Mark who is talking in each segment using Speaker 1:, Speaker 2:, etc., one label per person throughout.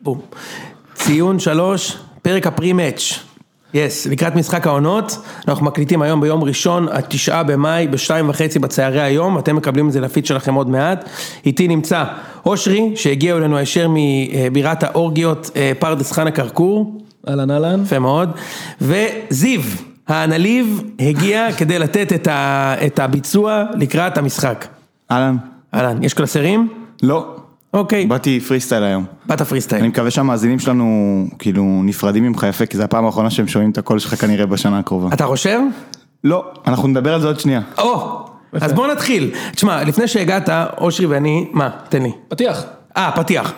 Speaker 1: בום. ציון שלוש, פרק הפרי-מאץ'. יס, לקראת משחק העונות, אנחנו מקליטים היום ביום ראשון, התשעה במאי, בשתיים וחצי בצהרי היום, אתם מקבלים את זה לפיד שלכם עוד מעט. איתי נמצא אושרי, שהגיע אלינו הישר מבירת האורגיות אה, פרדס חנה כרכור,
Speaker 2: אהלן אהלן.
Speaker 1: יפה מאוד, וזיו, האנליב, הגיע כדי לתת את, ה, את הביצוע לקראת המשחק.
Speaker 3: אהלן.
Speaker 1: אהלן, יש קלסרים?
Speaker 3: לא.
Speaker 1: אוקיי,
Speaker 3: באתי פרי סטייל היום.
Speaker 1: באת פרי סטייל.
Speaker 3: אני מקווה שהמאזינים שלנו כאילו נפרדים ממך יפה, כי זו הפעם האחרונה שהם שומעים את הקול שלך כנראה בשנה הקרובה.
Speaker 1: אתה חושב?
Speaker 3: לא, אנחנו נדבר על זה עוד שנייה.
Speaker 1: או! אז בוא נתחיל. תשמע, לפני שהגעת, אושרי ואני, מה? תן לי.
Speaker 2: פתיח.
Speaker 1: אה, פתיח.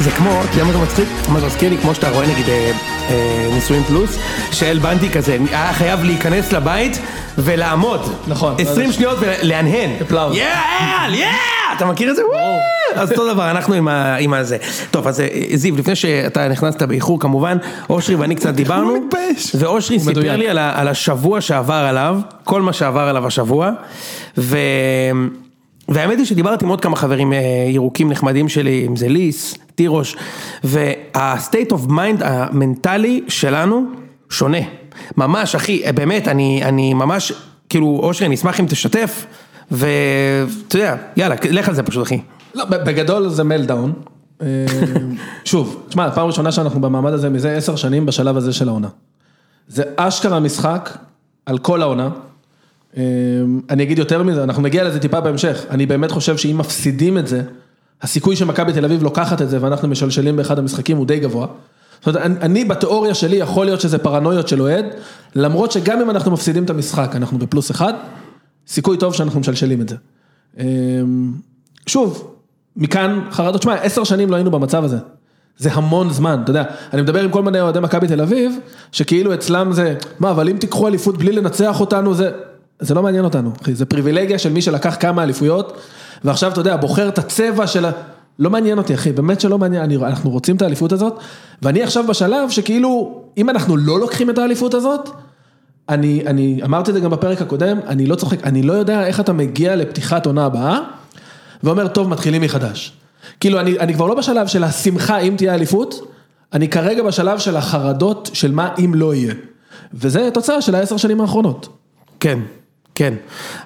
Speaker 1: זה כמו, אתה יודע מה זה מצחיק? מה זה מזכיר לי? כמו שאתה רואה נגיד אה, אה, נישואים פלוס, שאל בנטי כזה, היה חייב להיכנס לבית ולעמוד.
Speaker 2: נכון.
Speaker 1: 20 שניות ולהנהן.
Speaker 2: אפלאוז.
Speaker 1: יאה, אייל, יאה! אתה מכיר את זה? וואו! אז אותו דבר, אנחנו עם ה- עם הזה. טוב, אז אה, זיו, לפני שאתה נכנסת באיחור כמובן, אושרי ואני קצת דיברנו.
Speaker 3: הוא מתבייש.
Speaker 1: ואושרי
Speaker 2: הוא
Speaker 1: סיפר
Speaker 2: מדויק.
Speaker 1: לי על ה- על השבוע שעבר עליו, כל מה שעבר עליו השבוע, ו... והאמת היא שדיברתי עם עוד כמה חברים אה, ירוקים נחמדים שלי, אם זה ליס, תירוש, וה-state of mind המנטלי שלנו שונה. ממש, אחי, אה, באמת, אני, אני ממש, כאילו, אושרי, אני אשמח אם תשתף, ואתה יודע, יאללה, לך על זה פשוט, אחי.
Speaker 2: לא, ב- בגדול זה מלדאון. אה, שוב, תשמע, פעם ראשונה שאנחנו במעמד הזה מזה עשר שנים בשלב הזה של העונה. זה אשכרה משחק על כל העונה. אה, אני אגיד יותר מזה, אנחנו נגיע לזה טיפה בהמשך. אני באמת חושב שאם מפסידים את זה, הסיכוי שמכבי תל אביב לוקחת את זה ואנחנו משלשלים באחד המשחקים הוא די גבוה. זאת אומרת, אני, אני בתיאוריה שלי, יכול להיות שזה פרנויות של אוהד, למרות שגם אם אנחנו מפסידים את המשחק, אנחנו בפלוס אחד, סיכוי טוב שאנחנו משלשלים את זה. אמ, שוב, מכאן חרדות, שמע, עשר שנים לא היינו במצב הזה. זה המון זמן, אתה יודע, אני מדבר עם כל מיני אוהדי מכבי תל אביב, שכאילו אצלם זה, מה, אבל אם תיקחו אליפות בלי לנצח אותנו, זה... זה לא מעניין אותנו, אחי, זה פריבילגיה של מי שלקח כמה אליפויות, ועכשיו, אתה יודע, בוחר את הצבע של ה... לא מעניין אותי, אחי, באמת שלא מעניין, אני, אנחנו רוצים את האליפות הזאת, ואני עכשיו בשלב שכאילו, אם אנחנו לא לוקחים את האליפות הזאת, אני, אני אמרתי את זה גם בפרק הקודם, אני לא צוחק, אני לא יודע איך אתה מגיע לפתיחת עונה הבאה, ואומר, טוב, מתחילים מחדש. כאילו, אני, אני כבר לא בשלב של השמחה אם תהיה אליפות, אני כרגע בשלב של החרדות של מה אם לא יהיה. וזה תוצאה של העשר שנים האחרונות.
Speaker 1: כן, כן.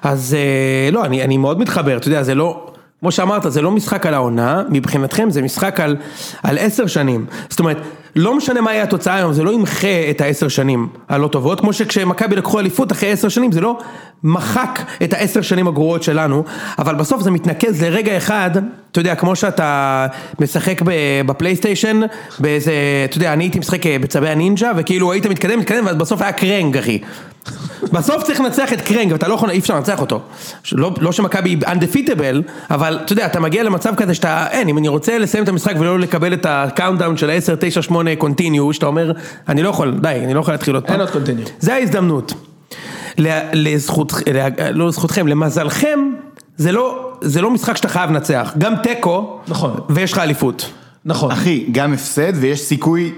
Speaker 1: אז אה, לא, אני, אני מאוד מתחבר, אתה יודע, זה לא, כמו שאמרת, זה לא משחק על העונה, מבחינתכם זה משחק על, על עשר שנים. זאת אומרת, לא משנה מה יהיה התוצאה היום, זה לא ימחה את העשר שנים הלא טובות, כמו שכשמכבי לקחו אליפות אחרי עשר שנים, זה לא מחק את העשר שנים הגרועות שלנו, אבל בסוף זה מתנקז לרגע אחד, אתה יודע, כמו שאתה משחק ב- בפלייסטיישן, באיזה, אתה יודע, אני הייתי משחק אה, בצבי הנינג'ה, וכאילו היית מתקדם, מתקדם, ואז בסוף היה קרנג, אחי. בסוף צריך לנצח את קרנג, ואתה לא יכול, אי אפשר לנצח אותו. לא, לא שמכבי undefeatable, אבל אתה יודע, אתה מגיע למצב כזה שאתה, אין, אם אני רוצה לסיים את המשחק ולא לקבל את הקאונטדאון של ה-10, 9, 8, קונטיניו, שאתה אומר, אני לא יכול, די, אני לא יכול להתחיל עוד פעם.
Speaker 2: אין עוד continue.
Speaker 1: זה ההזדמנות. ל- לזכות, ל- לא לזכותכם, למזלכם, זה לא, זה לא משחק שאתה חייב לנצח. גם תיקו,
Speaker 2: נכון.
Speaker 1: ויש לך אליפות.
Speaker 2: נכון,
Speaker 3: אחי, גם הפסד ויש סיכוי,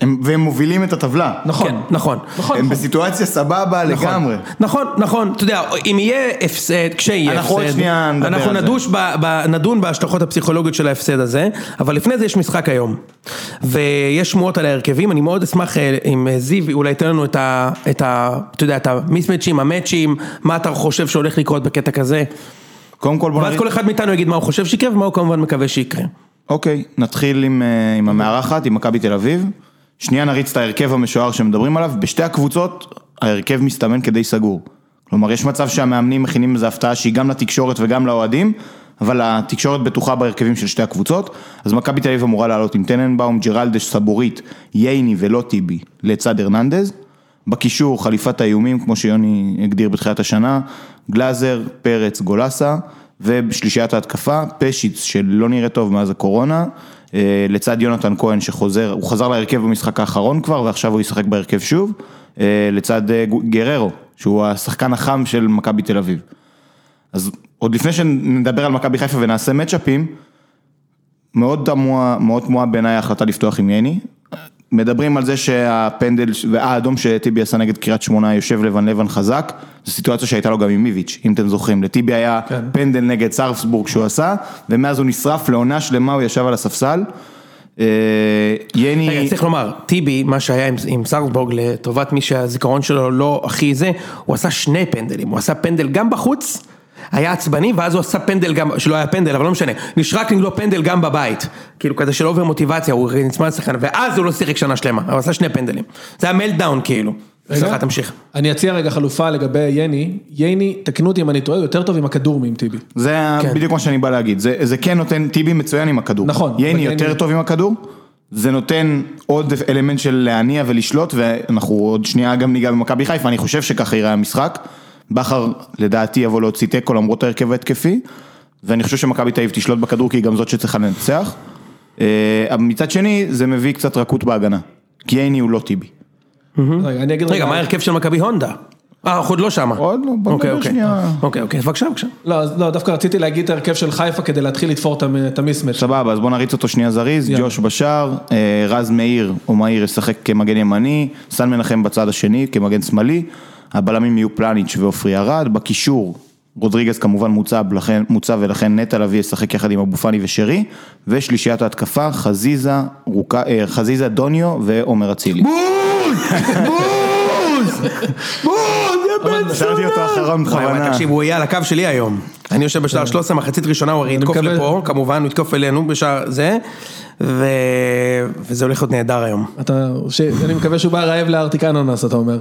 Speaker 3: הם- והם מובילים את הטבלה.
Speaker 2: נכון.
Speaker 1: כן, נכון.
Speaker 2: נכון,
Speaker 3: הם
Speaker 2: נכון.
Speaker 3: בסיטואציה סבבה לגמרי.
Speaker 1: נכון, נכון, אתה יודע, אם יהיה הפסד, כשיהיה הפסד,
Speaker 3: אנחנו עוד שנייה נדבר
Speaker 1: אנחנו
Speaker 3: על זה.
Speaker 1: נדוש ב, ב, נדון בהשלכות הפסיכולוגיות של ההפסד הזה, אבל לפני זה יש משחק היום, ויש שמועות על ההרכבים, אני מאוד אשמח אה, אם אה, זיו אולי ייתן לנו את ה, את ה, אתה יודע, את המיסמצ'ים, המאצ'ים, מה אתה חושב שהולך לקרות בקטע כזה,
Speaker 3: קודם כל בוא
Speaker 1: ואז
Speaker 3: נגיד,
Speaker 1: כל אחד מאיתנו יגיד מה הוא חושב שיקרה ומה הוא כמובן מקווה שיקרה.
Speaker 3: אוקיי, נתחיל עם אה, עם המארחת, עם מכבי תל אביב. שנייה נריץ את ההרכב המשוער שמדברים עליו. בשתי הקבוצות ההרכב מסתמן כדי סגור. כלומר, יש מצב שהמאמנים מכינים איזו הפתעה שהיא גם לתקשורת וגם לאוהדים, אבל התקשורת בטוחה בהרכבים של שתי הקבוצות. אז מכבי תל אביב אמורה לעלות עם טננבאום, ג'רלדש, סבורית, ייני ולא טיבי לצד הרננדז. בקישור, חליפת האיומים, כמו שיוני הגדיר בתחילת השנה, גלאזר, פרץ, גולסה, ובשלישיית ההתקפה, פשיץ, שלא נראה טוב מאז הקורונה, אה, לצד יונתן כהן שחוזר, הוא חזר להרכב במשחק האחרון כבר, ועכשיו הוא ישחק בהרכב שוב, אה, לצד אה, גו- גררו, שהוא השחקן החם של מכבי תל אביב. אז עוד לפני שנדבר על מכבי חיפה ונעשה מצ'אפים, מאוד תמוה, מאוד תמוהה בעיניי ההחלטה לפתוח עם ייני. מדברים על זה שהפנדל ש- והאדום שטיבי עשה נגד קריית שמונה יושב לבן לבן חזק, זו סיטואציה שהייתה לו גם עם איביץ', אם אתם זוכרים. לטיבי היה
Speaker 2: כן.
Speaker 3: פנדל נגד סרפסבורג שהוא עשה, ומאז הוא נשרף לעונה שלמה, הוא ישב על הספסל. אה, יני...
Speaker 1: רגע, צריך לומר, טיבי, מה שהיה עם, עם סרסבורג לטובת מי שהזיכרון שלו לא הכי זה, הוא עשה שני פנדלים, הוא עשה פנדל גם בחוץ, היה עצבני, ואז הוא עשה פנדל גם, שלא היה פנדל, אבל לא משנה, נשרק נגדו פנדל גם בבית, כאילו כזה של אובר מוטיבציה, הוא נצמד לשחקן, ואז הוא לא שיחק שנה שלמה, הוא עשה שני פנדלים, זה היה מלדאון כאילו, סליחה תמשיך.
Speaker 2: אני אציע רגע חלופה לגבי יני. יני, תקנו אותי אם אני טועה, הוא יותר טוב עם הכדור מעם טיבי.
Speaker 3: זה
Speaker 1: כן.
Speaker 3: כן. בדיוק מה שאני בא להגיד, זה, זה כן נותן טיבי מצוין עם הכדור.
Speaker 2: נכון, אבל
Speaker 3: ייני
Speaker 2: ייני-
Speaker 3: יותר טוב עם הכדור, זה נותן עוד אלמנט של להניע ולשלוט, ואנחנו עוד שנייה גם ניגע במכבי חיפה, אני חושב שככה ייראה המשחק. בכר לדעתי יבוא להוציא תיקו למרות ההרכב ההתקפי, ואני חושב שמכבי תל אביב תשלוט בכדור כי היא גם זאת שצריכה לנצח. אה, אבל מצד שני, זה מביא קצת רכות בהגנה, כי ייני הוא לא טיבי.
Speaker 2: רגע, אני אגיד
Speaker 1: רגע, מה ההרכב של מכבי הונדה? אה, אנחנו עוד לא שמה.
Speaker 3: עוד לא, בוא
Speaker 1: אוקיי,
Speaker 3: נדבר
Speaker 1: אוקיי.
Speaker 3: שנייה.
Speaker 1: אוקיי, אוקיי, בבקשה, בבקשה.
Speaker 2: לא, אז לא, דווקא רציתי להגיד את ההרכב של חיפה כדי להתחיל לתפור את המ- את המיסמץ'.
Speaker 3: סבבה, אז בוא נריץ אותו שנייה זריז,
Speaker 2: יאללה.
Speaker 3: ג'וש בשער, אה, רז מאיר או מאיר ישחק כמגן ימני, סן מנחם בצד השני כמגן שמאלי, הבלמים יהיו פלניץ' ועופרי ארד, בקישור רודריגז כמובן מוצב, לכן, מוצב ולכן נטע לביא ישחק יחד עם אבו פאני ושרי, ושלישיית ההתקפה חזיזה, רוקה, אה, חזיזה דוניו ועומר אצילי.
Speaker 1: אבל-
Speaker 3: השארתי אותו אחרון
Speaker 1: וואי וואי, תקשיב, הוא יהיה על הקו שלי היום. כן. אני יושב בשער 13, מחצית ראשונה הוא הרי יתקוף
Speaker 2: מקבל.
Speaker 1: לפה, כמובן, הוא יתקוף אלינו בשער זה, ו- וזה הולך להיות נהדר היום.
Speaker 2: אתה, ש... אני מקווה שהוא בא רעב לארטיק אננס, אתה אומר.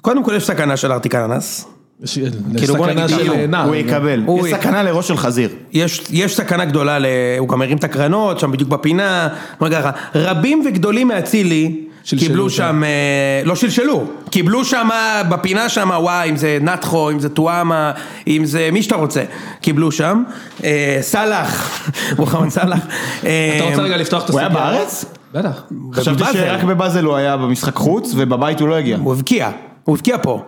Speaker 1: קודם כל יש סכנה של ארטיק אננס,
Speaker 2: ש...
Speaker 1: כאילו, בוא
Speaker 2: לסכנה
Speaker 1: נגיד,
Speaker 2: של
Speaker 1: בדיוק,
Speaker 2: אה, נער.
Speaker 3: הוא יקבל,
Speaker 1: הוא
Speaker 3: יש סכנה לראש של חזיר.
Speaker 1: יש יש סכנה גדולה, ל- הוא גם הרים את הקרנות, שם בדיוק בפינה, אומר ככה, רבים וגדולים מאצילי
Speaker 2: שלשלו
Speaker 1: קיבלו
Speaker 2: אותם.
Speaker 1: שם, אה, לא שלשלו, קיבלו שם בפינה שם, וואי, אם זה נטחו, אם זה טואמה, אם זה מי שאתה רוצה, קיבלו שם, אה, סאלח, מוחמד סאלח. אה,
Speaker 2: אתה
Speaker 1: אמ,
Speaker 2: רוצה רגע לפתוח את
Speaker 3: הוא היה
Speaker 2: הסוגיה?
Speaker 3: בארץ?
Speaker 2: בטח.
Speaker 3: חשבתי
Speaker 1: בבאזל.
Speaker 3: שרק בבאזל הוא היה במשחק חוץ, ובבית הוא לא הגיע.
Speaker 1: הוא הבקיע, הוא הבקיע פה.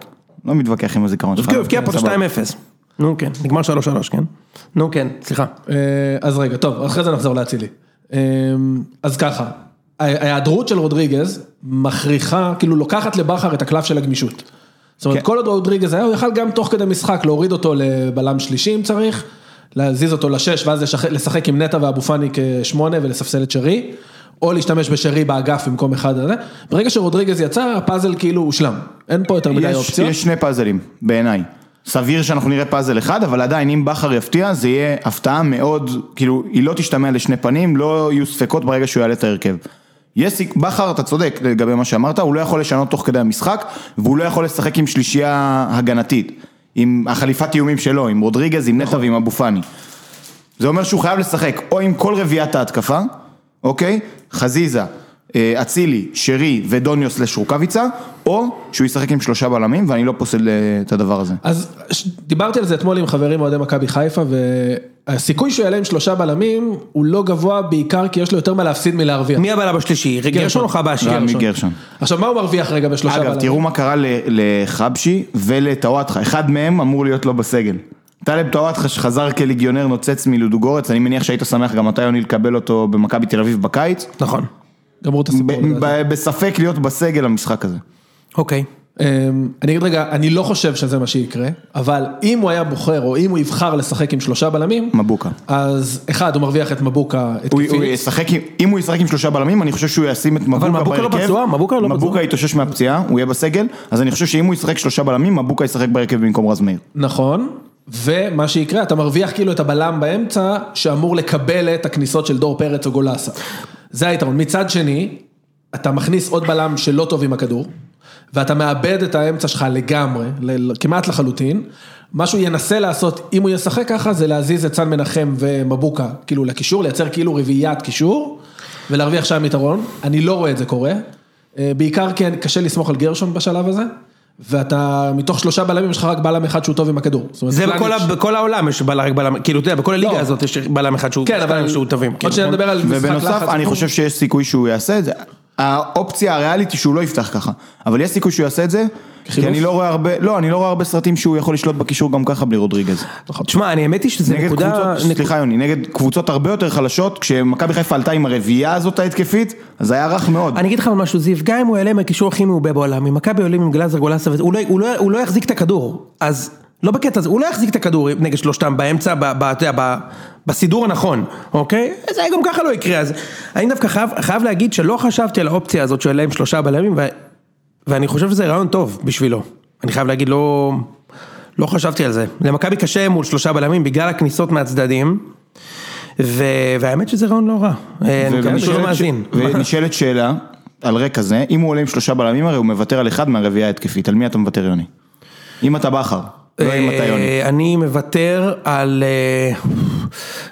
Speaker 3: לא מתווכח עם הזיכרון שלך. כן,
Speaker 1: הבקיע, הוא כאילו, הבקיע פה את
Speaker 3: סבבה.
Speaker 1: 2-0. נו כן, נגמר 3-3, כן? נו כן, סליחה.
Speaker 2: אה, אז רגע, טוב, אחרי זה נחזור לאצילי. אה, אז ככה, ההיעדרות של רודריגז מכריחה, כאילו לוקחת לבכר את הקלף של הגמישות. זאת אומרת,
Speaker 3: כן.
Speaker 2: כל עוד רודריגז היה, הוא יכל גם תוך כדי משחק להוריד אותו לבלם שלישי אם צריך, להזיז אותו לשש ואז לשחק, לשחק עם נטע ואבו פאני כשמונה ולספסל את שרי, או להשתמש בשרי באגף במקום אחד. וזה. ברגע שרודריגז יצא, הפאזל כאילו הושלם. אין פה
Speaker 1: לא
Speaker 2: יותר מדי
Speaker 3: יש,
Speaker 2: אופציות.
Speaker 3: יש שני פאזלים, בעיניי. סביר שאנחנו נראה פאזל אחד, אבל עדיין אם בכר יפתיע, זה יהיה הפתעה מאוד, כאילו, היא לא תשתמע לשני פנים, לא יהיו ספקות ברגע שהוא יעלה את ההרכב. יש, סיכ- בכר, אתה צודק לגבי מה שאמרת, הוא לא יכול לשנות תוך כדי המשחק, והוא לא יכול לשחק עם שלישייה הגנתית, עם החליפת איומים שלו, עם רודריגז, עם נטע
Speaker 1: נכון.
Speaker 3: ועם אבו פאני. זה אומר שהוא חייב לשחק או עם כל רביעיית ההתקפה, אוקיי? חזיזה, אה, אצילי, שרי ודוניו סלש רוקאביצה, או שהוא ישחק עם שלושה בלמים, ואני לא פוסל אה, את הדבר הזה.
Speaker 2: אז ש- דיברתי על זה אתמול עם חברים אוהדי מכבי חיפה, והסיכוי שהוא יעלה עם שלושה בלמים הוא לא גבוה בעיקר כי יש לו יותר מה להפסיד מלהרוויח.
Speaker 1: מי הבעלה בשלישי? גרשון או חבשי?
Speaker 3: רמי גרשון.
Speaker 2: עכשיו, מה הוא מרוויח רגע בשלושה בלמים?
Speaker 3: אגב, תראו מה קרה ל- לחבשי ולטוואטחה, אחד מהם אמור להיות לא בסגל. טלב טוואטחה שחזר כליגיונר נוצץ מלודוגורץ, אני מניח שהיית שמח גם אתה יוני לקבל אותו במכבי תל אביב בקיץ.
Speaker 1: נכון.
Speaker 2: גמרו את הסיפור.
Speaker 3: ב- ב- בספק להיות בסגל המשחק הזה.
Speaker 1: אוקיי.
Speaker 2: אמ, אני אגיד רגע, אני לא חושב שזה מה שיקרה, אבל אם הוא היה בוחר, או אם הוא יבחר לשחק עם שלושה בלמים,
Speaker 3: מבוקה.
Speaker 2: אז אחד, הוא מרוויח את מבוקה
Speaker 3: הוא, הוא
Speaker 2: התקפית.
Speaker 3: ישחק, עם- אם הוא ישחק עם שלושה בלמים, אני חושב שהוא ישים את מבוקה בהרכב.
Speaker 1: מבוקה לא פצוע, מבוקה לא פצוע.
Speaker 3: מבוקה יתאושש מהפציעה, הוא יהיה בסגל, אז אני חושב שאם הוא ישחק שלושה בלמים, מבוקה ישחק בהרכב במקום רז מאיר.
Speaker 2: נכון, ומה שיקרה, אתה מרוויח כאילו את הבלם באמצע, שאמור לקבל את הכניסות של דור פרץ או גולסה. זה היתרון. מצד שני, אתה מכניס עוד בלם שלא טוב עם הכדור, ואתה מאבד את האמצע שלך לגמרי, ל- כמעט לחלוטין. מה שהוא ינסה לעשות, אם הוא ישחק ככה, זה להזיז את סן מנחם ומבוקה, כאילו לקישור, לייצר כאילו רביעיית קישור, ולהרוויח שם יתרון. אני לא רואה את זה קורה. אה, בעיקר כי קשה לסמוך על גרשון בשלב הזה, ואתה, מתוך שלושה בלמים יש לך רק בלם אחד שהוא טוב עם הכדור. זאת אומרת,
Speaker 1: זה
Speaker 2: פלניץ'-
Speaker 1: בכל ה- בכל העולם יש בלם, רק בלם, כאילו אתה יודע, בכל הליגה הזאת יש בלם אחד שהוא,
Speaker 2: כן, אבל...
Speaker 1: שתיים שהוא טובים.
Speaker 2: עוד
Speaker 1: כאילו.
Speaker 3: נכון?
Speaker 2: שניה נדבר על משחק לחץ.
Speaker 3: ובנוסף, אני חושב שיש סיכוי שהוא יעשה את זה. האופציה הריאלית היא שהוא לא יפתח ככה, אבל יש סיכוי שהוא יעשה את זה, כי
Speaker 2: כחילוף?
Speaker 3: אני לא רואה הרבה, לא, אני לא רואה הרבה סרטים שהוא יכול לשלוט בקישור גם ככה בלי רודריגז.
Speaker 1: תשמע, נכון. אני האמת היא שזה
Speaker 3: נגד
Speaker 1: נקודה...
Speaker 3: קבוצות,
Speaker 1: נק-
Speaker 3: סליחה יוני, נגד קבוצות הרבה יותר חלשות, כשמכבי חיפה עלתה עם הרביעייה הזאת ההתקפית, אז היה רך מאוד.
Speaker 1: אני אגיד לך משהו, זיו, גם אם הוא יעלה מהקישור הכי מעובה בעולם, אם מכבי עולים עם גלאזר גולאסה, וזה, הוא לא- הוא לא- הוא לא יחזיק את הכדור, אז לא בקטע הזה, הוא לא יחזיק את הכדור נגד שלושתם באמצע, ב- ב- אתה יודע, ב- בסידור הנכון, אוקיי? זה גם ככה לא יקרה, אז אני דווקא חייב- חייב להגיד שלא חשבתי על האופציה הזאת שהוא יעלה עם שלושה בלמים, ו- ואני חושב שזה רעיון טוב בשבילו. אני חייב להגיד, לא... לא חשבתי על זה. למכבי קשה מול שלושה בלמים בגלל הכניסות מהצדדים, ו... והאמת שזה רעיון לא רע. אה, אני מקווה שהוא לא
Speaker 3: ונשאלת ש-
Speaker 1: מאזין.
Speaker 3: כן, ונשאלת שאלה, על רקע זה, אם הוא עולה עם שלושה בלמים הרי הוא מוותר על אחד מהרביעייה ההתקפית, על מי אתה מוותר יוני? אם אתה בכר, לא אם אתה יוני.
Speaker 1: אה, אני מוותר על... אה,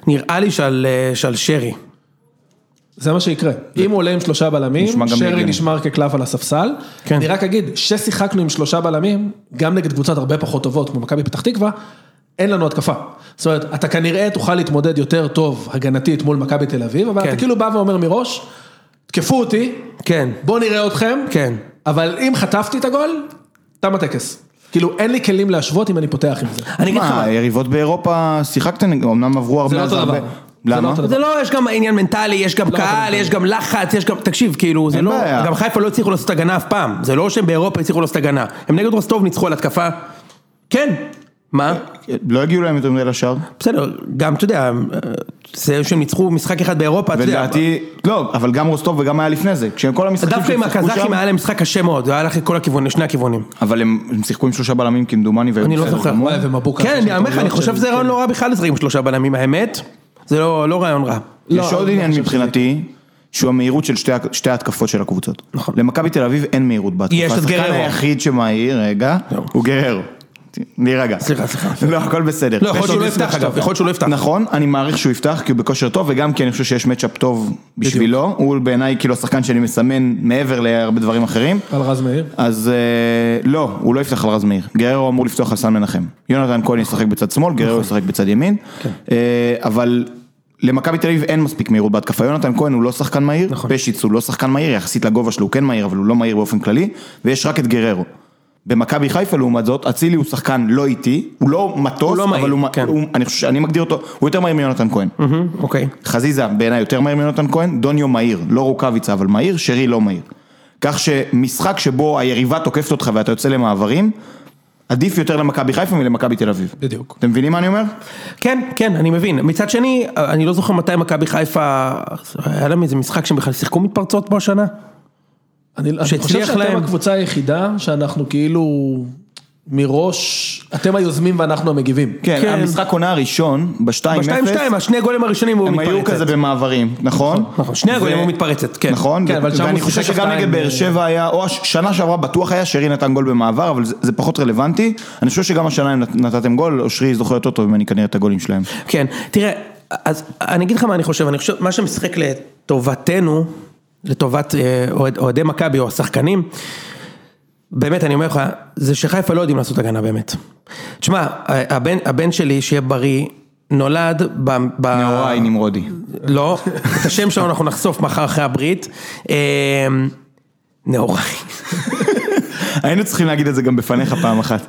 Speaker 1: נראה לי שעל אה, שעל שרי.
Speaker 2: זה מה שיקרה. אם הוא עולה עם שלושה
Speaker 3: נשמע
Speaker 2: בלמים,
Speaker 3: גם
Speaker 2: שרי
Speaker 3: הגיוני.
Speaker 2: נשמר כקלף על הספסל.
Speaker 1: כן.
Speaker 2: אני רק אגיד, ששיחקנו עם שלושה בלמים, גם נגד קבוצות הרבה פחות טובות, כמו מכבי פתח תקווה, אין לנו התקפה. זאת אומרת, אתה כנראה תוכל להתמודד יותר טוב הגנתית מול מכבי תל אביב, אבל
Speaker 1: כן.
Speaker 2: אתה כאילו בא ואומר מראש, תקפו אותי,
Speaker 1: כן,
Speaker 2: בואו נראה אתכם,
Speaker 1: כן.
Speaker 2: אבל אם חטפתי את הגול, תם הטקס. כאילו, אין לי כלים להשוות אם אני פותח עם זה.
Speaker 1: אני אגיד לך
Speaker 3: מה,
Speaker 1: מה.
Speaker 3: יריבות באירופה, שיחקתם, אמנם עברו הרבה,
Speaker 2: לא
Speaker 3: אז
Speaker 2: אותו
Speaker 3: הרבה-
Speaker 2: דבר. זה לא
Speaker 3: למה?
Speaker 2: אותו דבר.
Speaker 1: זה לא, יש גם עניין מנטלי, יש גם
Speaker 2: לא,
Speaker 1: קהל,
Speaker 2: אבל-
Speaker 1: יש גם לחץ, יש גם, תקשיב, כאילו, זה
Speaker 3: אין
Speaker 1: לא,
Speaker 3: בעיה.
Speaker 1: גם חיפה לא הצליחו לעשות הגנה אף פעם, זה לא שהם באירופה הצליחו לעשות הגנה, הם נגד רוסטוב ניצחו על התקפה, כן, מה?
Speaker 3: לא הגיעו להם יותר מדי לשער.
Speaker 1: בסדר, גם, אתה יודע, אה, זה שהם ניצחו משחק אחד באירופה, אתה יודע,
Speaker 3: ולדעתי, לא, אבל גם רוסטוב וגם היה לפני זה, כשכל המשחקים
Speaker 1: דווקא עם
Speaker 3: שהם שיחקו
Speaker 1: הקזחים
Speaker 3: שם,
Speaker 1: היה להם משחק קשה מאוד, זה היה לך כל הכיוונים, לשני הכיוונים.
Speaker 3: אבל הם הם שיחקו עם שלושה בלמים כמדומני, והיו
Speaker 1: אני לא
Speaker 3: בסדר
Speaker 1: זוכר.
Speaker 3: גמור.
Speaker 2: וואי, ומבוקה.
Speaker 1: כן,
Speaker 2: של
Speaker 1: אני אומר לך, אני
Speaker 2: טעויות
Speaker 1: חושב
Speaker 2: של-
Speaker 1: שזה רעיון לא רע בכלל לשחק עם שלושה בלמים, האמת. זה לא לא רעיון רע.
Speaker 2: לא,
Speaker 3: יש עוד
Speaker 2: אני
Speaker 3: עניין
Speaker 2: חושב
Speaker 3: מבחינתי, שהוא המהירות של שתי, ה- שתי ההתקפות של הקבוצות.
Speaker 1: נכון.
Speaker 3: למכבי תל אביב אין מהירות בהתקפה.
Speaker 1: יש את
Speaker 3: השחקן
Speaker 1: גררו.
Speaker 3: היחיד שמהיר, רגע, הוא גררו. ת- להירגע.
Speaker 1: סליחה, סליחה,
Speaker 3: לא, הכל בסדר.
Speaker 1: לא, יכול להיות
Speaker 3: יש
Speaker 1: שהוא
Speaker 3: עוד
Speaker 1: לא
Speaker 3: מסמך
Speaker 1: יפתח אגב,
Speaker 3: שאתה-
Speaker 1: יכול להיות שהוא לא יפתח.
Speaker 3: נכון, אני מעריך שהוא יפתח כי הוא בכושר טוב, וגם כי אני חושב שיש מצ'אפ טוב בשבילו. הוא בעיניי כאילו השחקן שאני מסמן מעבר להרבה דברים אחרים.
Speaker 2: על רז מאיר.
Speaker 3: אז אה, לא, הוא לא יפתח על רז מאיר, גררו אמור לפתוח על סן מנחם. יונתן כהן ישחק בצד שמאל,
Speaker 1: נכון.
Speaker 3: גררו ישחק בצד ימין,
Speaker 1: כן.
Speaker 3: אה, אבל למכבי תל אביב אין מספיק מהירות בהתקפה, יונתן כהן הוא לא שחקן מהיר,
Speaker 1: נכון.
Speaker 3: פשיץ הוא לא שחקן מהיר, יחסית לגובה שלו הוא כן מהיר, אבל הוא לא מהיר באופן כללי, ויש רק את גררו. במכבי חיפה לעומת זאת, אצילי הוא שחקן לא איטי, הוא לא
Speaker 1: הוא
Speaker 3: מטוס,
Speaker 1: לא
Speaker 3: אבל
Speaker 1: מהיר,
Speaker 3: הוא,
Speaker 1: כן.
Speaker 3: הוא, אני חושב שאני מגדיר אותו, הוא יותר מהיר מיונתן כהן.
Speaker 1: מהמם, אוקיי.
Speaker 3: חזיזה בעיניי יותר מהיר מיונתן כהן, דוניו מהיר, לא רוקאביצה אבל מהיר, שרי לא מהיר. כך שמשחק שבו היריבה תוקפת אותך ואתה יוצא למעברים, עדיף יותר למכבי חיפה מלמכבי תל אביב.
Speaker 2: בדיוק.
Speaker 3: אתם מבינים מה אני אומר?
Speaker 1: כן, כן, אני מבין. מצד שני, אני לא זוכר מתי מכבי חיפה, היה להם איזה משחק שהם בכלל שיחקו מתפרצות בו השנה?
Speaker 2: אני, אני חושב
Speaker 1: שהצליח
Speaker 2: שאתם
Speaker 1: להם.
Speaker 2: הקבוצה היחידה שאנחנו כאילו מראש, אתם היוזמים ואנחנו המגיבים.
Speaker 3: כן,
Speaker 1: כן.
Speaker 3: המשחק עונה הראשון, ב-2-0,
Speaker 1: ב-2-2, השני גולים הראשונים הוא
Speaker 3: הם
Speaker 1: מתפרצת.
Speaker 3: היו כזה במעברים, נכון?
Speaker 1: נכון, שני הגולים
Speaker 3: ו-
Speaker 1: הוא מתפרצת, כן.
Speaker 3: נכון,
Speaker 2: כן,
Speaker 3: ו-
Speaker 2: אבל שם
Speaker 3: ואני
Speaker 2: הוא
Speaker 3: חושב
Speaker 2: שיחק
Speaker 3: שגם
Speaker 2: שתיים,
Speaker 3: נגד באר
Speaker 2: אה,
Speaker 3: שבע היה, או הש- שנה שעברה בטוח היה שרי נתן גול במעבר, אבל זה זה פחות רלוונטי. אני חושב שגם השנה הם נת- נתתם גול, אושרי זוכר יותר טוב ממני כנראה את הגולים שלהם.
Speaker 1: כן, תראה, אז אני אגיד לך מה אני חושב, אני חושב, מה שמשחק לטובתנו, לטובת אה, אוהד- אוהדי מכבי או השחקנים, באמת, אני אומר לך, זה שחיפה לא יודעים לעשות הגנה באמת. תשמע, ה- הבן, הבן שלי, שיהיה בריא, נולד ב... ב...
Speaker 3: נאוראי נמרודי.
Speaker 1: לא, את השם שלו אנחנו נחשוף מחר אחרי הברית. אה, נאוראי.
Speaker 3: היינו צריכים להגיד את זה גם בפניך פעם אחת.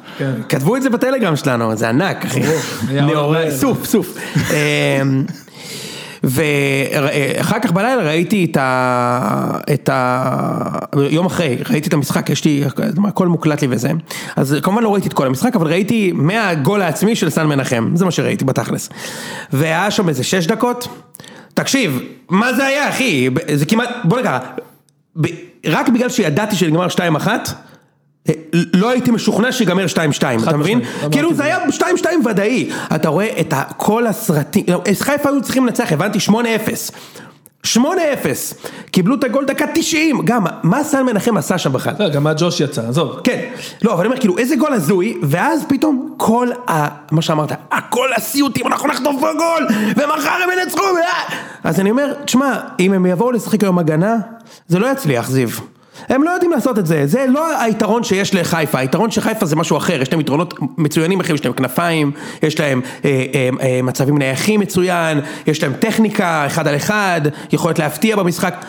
Speaker 1: כתבו את זה בטלגרם שלנו, זה ענק, אחי.
Speaker 2: היה עוד
Speaker 1: נאורי,
Speaker 2: בערב.
Speaker 1: סוף, סוף. אמ, ואחר אה, כך בלילה ראיתי את ה... את ה... יום אחרי, ראיתי את המשחק, יש לי, הכל מוקלט לי וזה. אז כמובן לא ראיתי את כל המשחק, אבל ראיתי מהגול העצמי של סן מנחם, זה מה שראיתי בתכלס. והיה שם איזה שש דקות. תקשיב, מה זה היה, אחי? זה כמעט, בוא נקרא, ב- רק בגלל שידעתי שנגמר 2-1, לא הייתי משוכנע שיגמר 2-2, אתה מבין?
Speaker 2: משמעית, אמרתי
Speaker 1: כאילו זה היה 2-2 ודאי. אתה רואה את ה- כל הסרטים, לא, אז חיפה היו צריכים לנצח, הבנתי 8-0. 8-0, קיבלו את הגול דקה 90, גם מה סן מנחם עשה שם בכלל?
Speaker 2: לא, גם מה ג'וש יצא, עזוב.
Speaker 1: כן, לא, אבל אני אומר, כאילו, איזה גול הזוי, ואז פתאום כל ה... מה שאמרת, "אה, כל הסיוטים, אנחנו נחטוף פה גול, ומחר הם ינצחו, אה!" אז אני אומר, תשמע, אם הם יבואו לשחק היום הגנה, זה לא יצליח, זיו. הם לא יודעים לעשות את זה, זה לא היתרון שיש לחיפה, היתרון של חיפה זה משהו אחר, יש להם יתרונות מצוינים אחרים, יש להם כנפיים, יש להם אה, אה, אה, מצבים נייחים מצוין, יש להם טכניקה, אחד על אחד, יכולת להפתיע במשחק.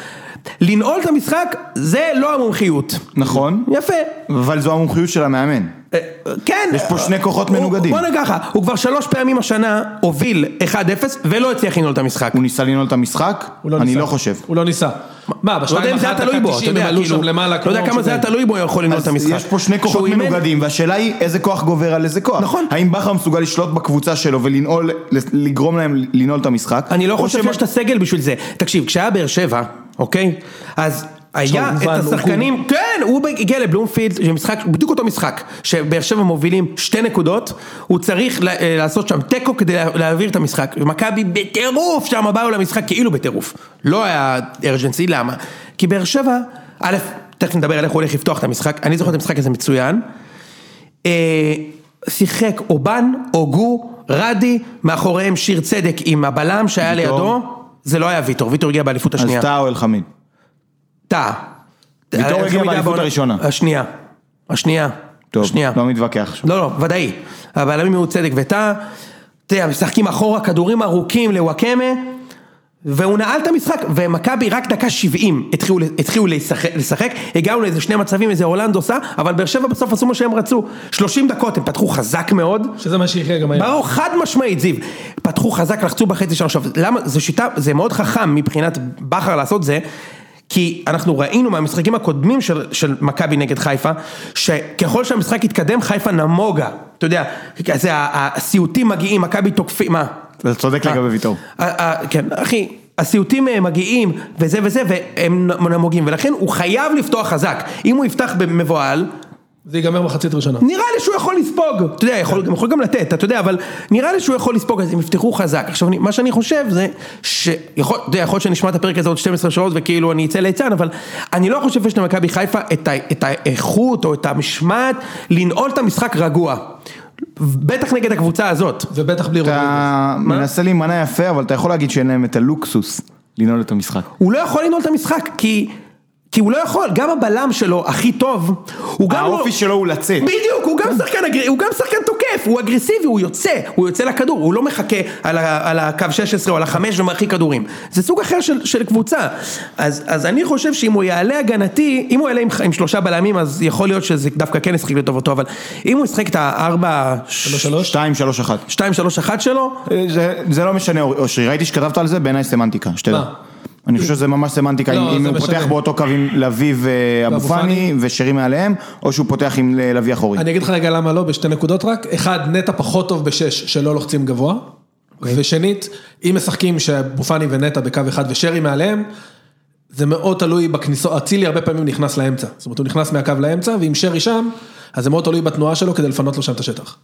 Speaker 1: לנעול את המשחק זה לא המומחיות.
Speaker 3: נכון,
Speaker 1: יפה.
Speaker 3: אבל זו המומחיות של המאמן.
Speaker 1: אה, כן.
Speaker 3: יש פה שני כוחות
Speaker 1: הוא-
Speaker 3: מנוגדים.
Speaker 1: בוא נגיד ככה, הוא כבר שלוש פעמים השנה הוביל 1-0 ולא הצליח לנעול את המשחק.
Speaker 3: הוא ניסה לנעול את המשחק?
Speaker 2: הוא לא
Speaker 3: אני
Speaker 2: ניסה.
Speaker 3: לא חושב.
Speaker 2: הוא לא ניסה. מה,
Speaker 1: לא יודע
Speaker 2: בשתיים
Speaker 1: אם זה היה
Speaker 2: אחת
Speaker 1: תלוי בו, אתה
Speaker 2: התשעים הם
Speaker 1: יודע,
Speaker 2: עלו
Speaker 1: כאילו,
Speaker 2: שם למעלה.
Speaker 1: לא יודע
Speaker 2: כמו
Speaker 1: כמה זה היה
Speaker 2: משוגעים.
Speaker 1: תלוי בו, הוא יכול לנעול את
Speaker 3: אז
Speaker 1: המשחק.
Speaker 3: יש פה שני כוחות
Speaker 1: שהוא אימן-
Speaker 3: מנוגדים, והשאלה היא איזה כוח גובר על איזה כוח.
Speaker 1: נכון.
Speaker 3: האם בכר מסוגל לשלוט בקבוצה שלו ולנעול, לגרום להם לנעול את המשחק?
Speaker 1: אני לא
Speaker 3: או
Speaker 1: חושב
Speaker 3: שמא-
Speaker 1: שיש את הסגל בשביל זה. תקשיב, כשהיה באר שבע, אוקיי? אז היה את
Speaker 2: שהאובן,
Speaker 1: השחקנים, כן, הוא הגיע לבלומפילד, זה משחק, בדיוק אותו משחק, שבאר שבע מובילים שתי נקודות, הוא צריך ל- אה, לעשות שם תיקו כדי לה- להעביר את המשחק, ומכבי בטירוף שם באו למשחק כאילו בטירוף. לא היה ארג'נסי, למה? כי באר שבע, א', תכף נדבר על איך הוא הולך לפתוח את המשחק, אני זוכר את המשחק הזה מצוין. אה, שיחק אובן, הוגו, רדי, מאחוריהם שיר צדק עם הבלם שהיה
Speaker 3: ויטור.
Speaker 1: לידו, זה לא היה ויטור, ויטור הגיע באליפות
Speaker 3: אז
Speaker 1: השנייה.
Speaker 3: טאה או אלחמיד?
Speaker 1: טאה.
Speaker 3: ויטור
Speaker 1: אה,
Speaker 3: הגיע
Speaker 1: איך הוא
Speaker 3: באליפות
Speaker 1: בעונה?
Speaker 3: הראשונה.
Speaker 1: השנייה. השנייה.
Speaker 3: טוב,
Speaker 1: השנייה.
Speaker 3: לא מתווכח עכשיו.
Speaker 1: לא, לא, ודאי. הבלמים היו צדק וטאה. תראה, משחקים אחורה, כדורים ארוכים לוואקמה. והוא נעל את המשחק, ומכבי רק דקה 70 התחילו, התחילו לשחק, לשחק, הגענו לאיזה שני מצבים, איזה הולנד עושה, אבל באר שבע בסוף עשו מה שהם רצו. 30 דקות הם פתחו חזק מאוד,
Speaker 2: שזה מה שיקרה גם היום.
Speaker 1: ברור, חד משמעית, זיו. פתחו חזק, לחצו בחצי שנה. עכשיו, למה, זו שיטה, זה מאוד חכם מבחינת בכר לעשות זה, כי אנחנו ראינו מהמשחקים הקודמים של, של מכבי נגד חיפה, שככל שהמשחק התקדם, חיפה נמוגה. אתה יודע, זה ה- הסיוטים מגיעים, מכבי תוקפים, מה?
Speaker 3: אתה צודק לגבי ויטור.
Speaker 1: ה- ה- כן, אחי, הסיוטים אה, מגיעים, וזה וזה, והם נ- נמוגים, ולכן הוא חייב לפתוח חזק. אם הוא יפתח במבוהל,
Speaker 2: זה ייגמר מחצית ראשונה.
Speaker 1: נראה לי שהוא יכול לספוג, אתה יודע, יכול, גם- יכול גם לתת, אתה יודע, אבל נראה לי שהוא יכול לספוג, אז הם יפתחו חזק. עכשיו, אני, מה שאני חושב זה, שיכול, אתה יודע, יכול להיות שנשמע את הפרק הזה עוד 12 שעות וכאילו אני אצא ליצן, אבל אני לא חושב שיש למכבי חיפה את, ה, את האיכות או את המשמעת לנעול את המשחק רגוע. בטח נגד הקבוצה הזאת.
Speaker 2: ובטח בלי רודריגז.
Speaker 1: אה.
Speaker 3: אתה מנסה להימנע יפה, אבל אתה יכול להגיד שאין להם את הלוקסוס לנעול את המשחק.
Speaker 1: הוא לא יכול לנעול את המשחק, כי... כי הוא לא יכול, גם הבלם שלו הכי טוב, הוא גם לא...
Speaker 3: האופי שלו הוא לצאת.
Speaker 1: בדיוק, הוא גם שחקן, אגר... הוא גם שחקן תוקף, הוא אגרסיבי, הוא יוצא, הוא יוצא לכדור, הוא לא מחכה על, ה... על הקו 16 או על החמש ומרחיק כדורים. זה סוג אחר של, של קבוצה. אז, אז אני חושב שאם הוא יעלה הגנתי, אם הוא יעלה עם, ח- עם שלושה בלמים, אז יכול להיות שזה דווקא כן ישחק לטובתו, אבל אם הוא ישחק את הארבע...
Speaker 2: שלוש שלוש.
Speaker 3: 2, 3, 1.
Speaker 1: שתיים, שלוש, אחת שלו,
Speaker 3: זה לא משנה, אור- אושרי, ראיתי שכתבת על זה, בעיניי סמנטיקה, שתדע.
Speaker 2: מה?
Speaker 3: אני חושב שזה ממש סמנטיקה,
Speaker 2: לא,
Speaker 3: אם- אם
Speaker 2: זה
Speaker 3: הוא
Speaker 2: משנה.
Speaker 3: פותח באותו קו עם לביא ואבו
Speaker 2: ואבו פאני.
Speaker 3: פאני ושרי מעליהם, או שהוא פותח עם ל- לביא אחורי.
Speaker 2: אני אגיד לך רגע למה לא, בשתי נקודות רק. אחד, נטע פחות טוב בשש, שלא לוחצים גבוה. ושנית, אם משחקים שבופני ונטע בקו אחד ושרי מעליהם, זה מאוד תלוי בכניסות, אצילי הרבה פעמים נכנס לאמצע. זאת אומרת, הוא נכנס מהקו לאמצע, ואם שרי שם, אז זה מאוד תלוי בתנועה שלו כדי לפנות לו שם את השטח.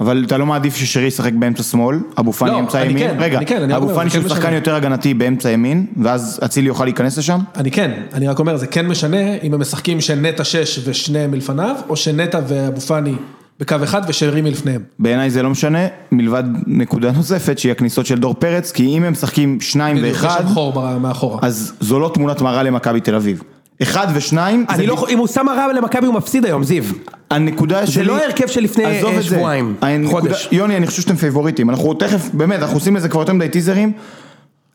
Speaker 3: אבל אתה לא מעדיף ששרי ישחק באמצע שמאל, אבו פאני
Speaker 2: לא,
Speaker 3: אמצע
Speaker 2: אני
Speaker 3: ימין?
Speaker 2: כן,
Speaker 3: רגע,
Speaker 2: אני כן, אני
Speaker 3: אבו
Speaker 2: אומר,
Speaker 3: פאני
Speaker 2: זה כן
Speaker 3: שהוא שחקן
Speaker 2: משנה.
Speaker 3: יותר הגנתי באמצע ימין, ואז אצילי יוכל להיכנס לשם?
Speaker 2: אני כן, אני רק אומר, זה כן משנה אם הם משחקים שנטע שש ושניהם מלפניו, או שנטע ואבו פאני בקו אחד ושרי מלפניהם.
Speaker 3: בעיניי זה לא משנה, מלבד נקודה נוספת שהיא הכניסות של דור פרץ, כי אם הם משחקים שניים
Speaker 2: בדיוק, יש
Speaker 3: ואחד,
Speaker 2: שם חור ב- מאחורה.
Speaker 3: אז זו לא תמונת מראה למכבי תל אביב. אחד ושניים, זה
Speaker 1: אני לא... אם הוא שם הרע למכבי הוא מפסיד היום, זיו.
Speaker 3: הנקודה שלי...
Speaker 1: לא ההרכב של לפני,
Speaker 3: עזוב
Speaker 1: אה,
Speaker 3: את זה.
Speaker 1: שבועיים,
Speaker 3: הנקודה-
Speaker 1: חודש.
Speaker 3: יוני, אני חושב שאתם פייבוריטים. אנחנו תכף, באמת, אנחנו עושים לזה כבר יותר מדי טיזרים.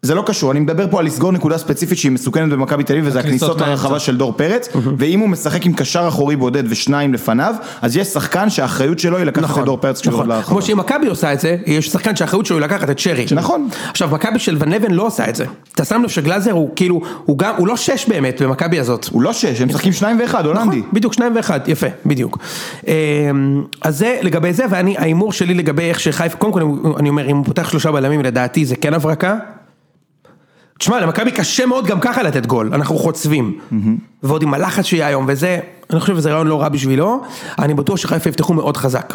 Speaker 3: זה לא קשור, אני מדבר פה על לסגור נקודה ספציפית שהיא מסוכנת במכבי תל אביב, וזה
Speaker 2: הכניסות
Speaker 3: הכניסות לרחבה
Speaker 2: מהאמצע.
Speaker 3: של דור פרץ, ואם הוא משחק עם קשר אחורי בודד ושניים לפניו, אז יש שחקן שהאחריות שלו היא לקחת את דור פרץ כשהוא
Speaker 1: נכון.
Speaker 3: יורד לרחבה.
Speaker 1: כמו שאם מכבי עושה את זה, יש שחקן שהאחריות שלו היא לקחת את שרי.
Speaker 3: נכון.
Speaker 1: עכשיו, מכבי של ון לבן לא עושה את זה. אתה שם לב שגלאזר הוא כאילו, הוא גם, הוא לא שש באמת במכבי הזאת.
Speaker 3: הוא לא שש, הם משחקים שניים ואחד, הולנדי.
Speaker 1: נכון, בדיוק, שניים ואחד, יפה, בדיוק. אמ, אז זה לגבי זה, ואני, ההימור שלי לגבי איך שחיפה, קודם כל אני- אני אומר, אם הוא פותח שלושה בלמים, לדעתי זה כן הברקה. תשמע, למכבי קשה מאוד גם ככה לתת גול, אנחנו חוצבים. ועוד עם הלחץ שיהיה היום וזה, אני חושב שזה רעיון לא רע בשבילו, אני בטוח שחיפה יפתחו מאוד חזק.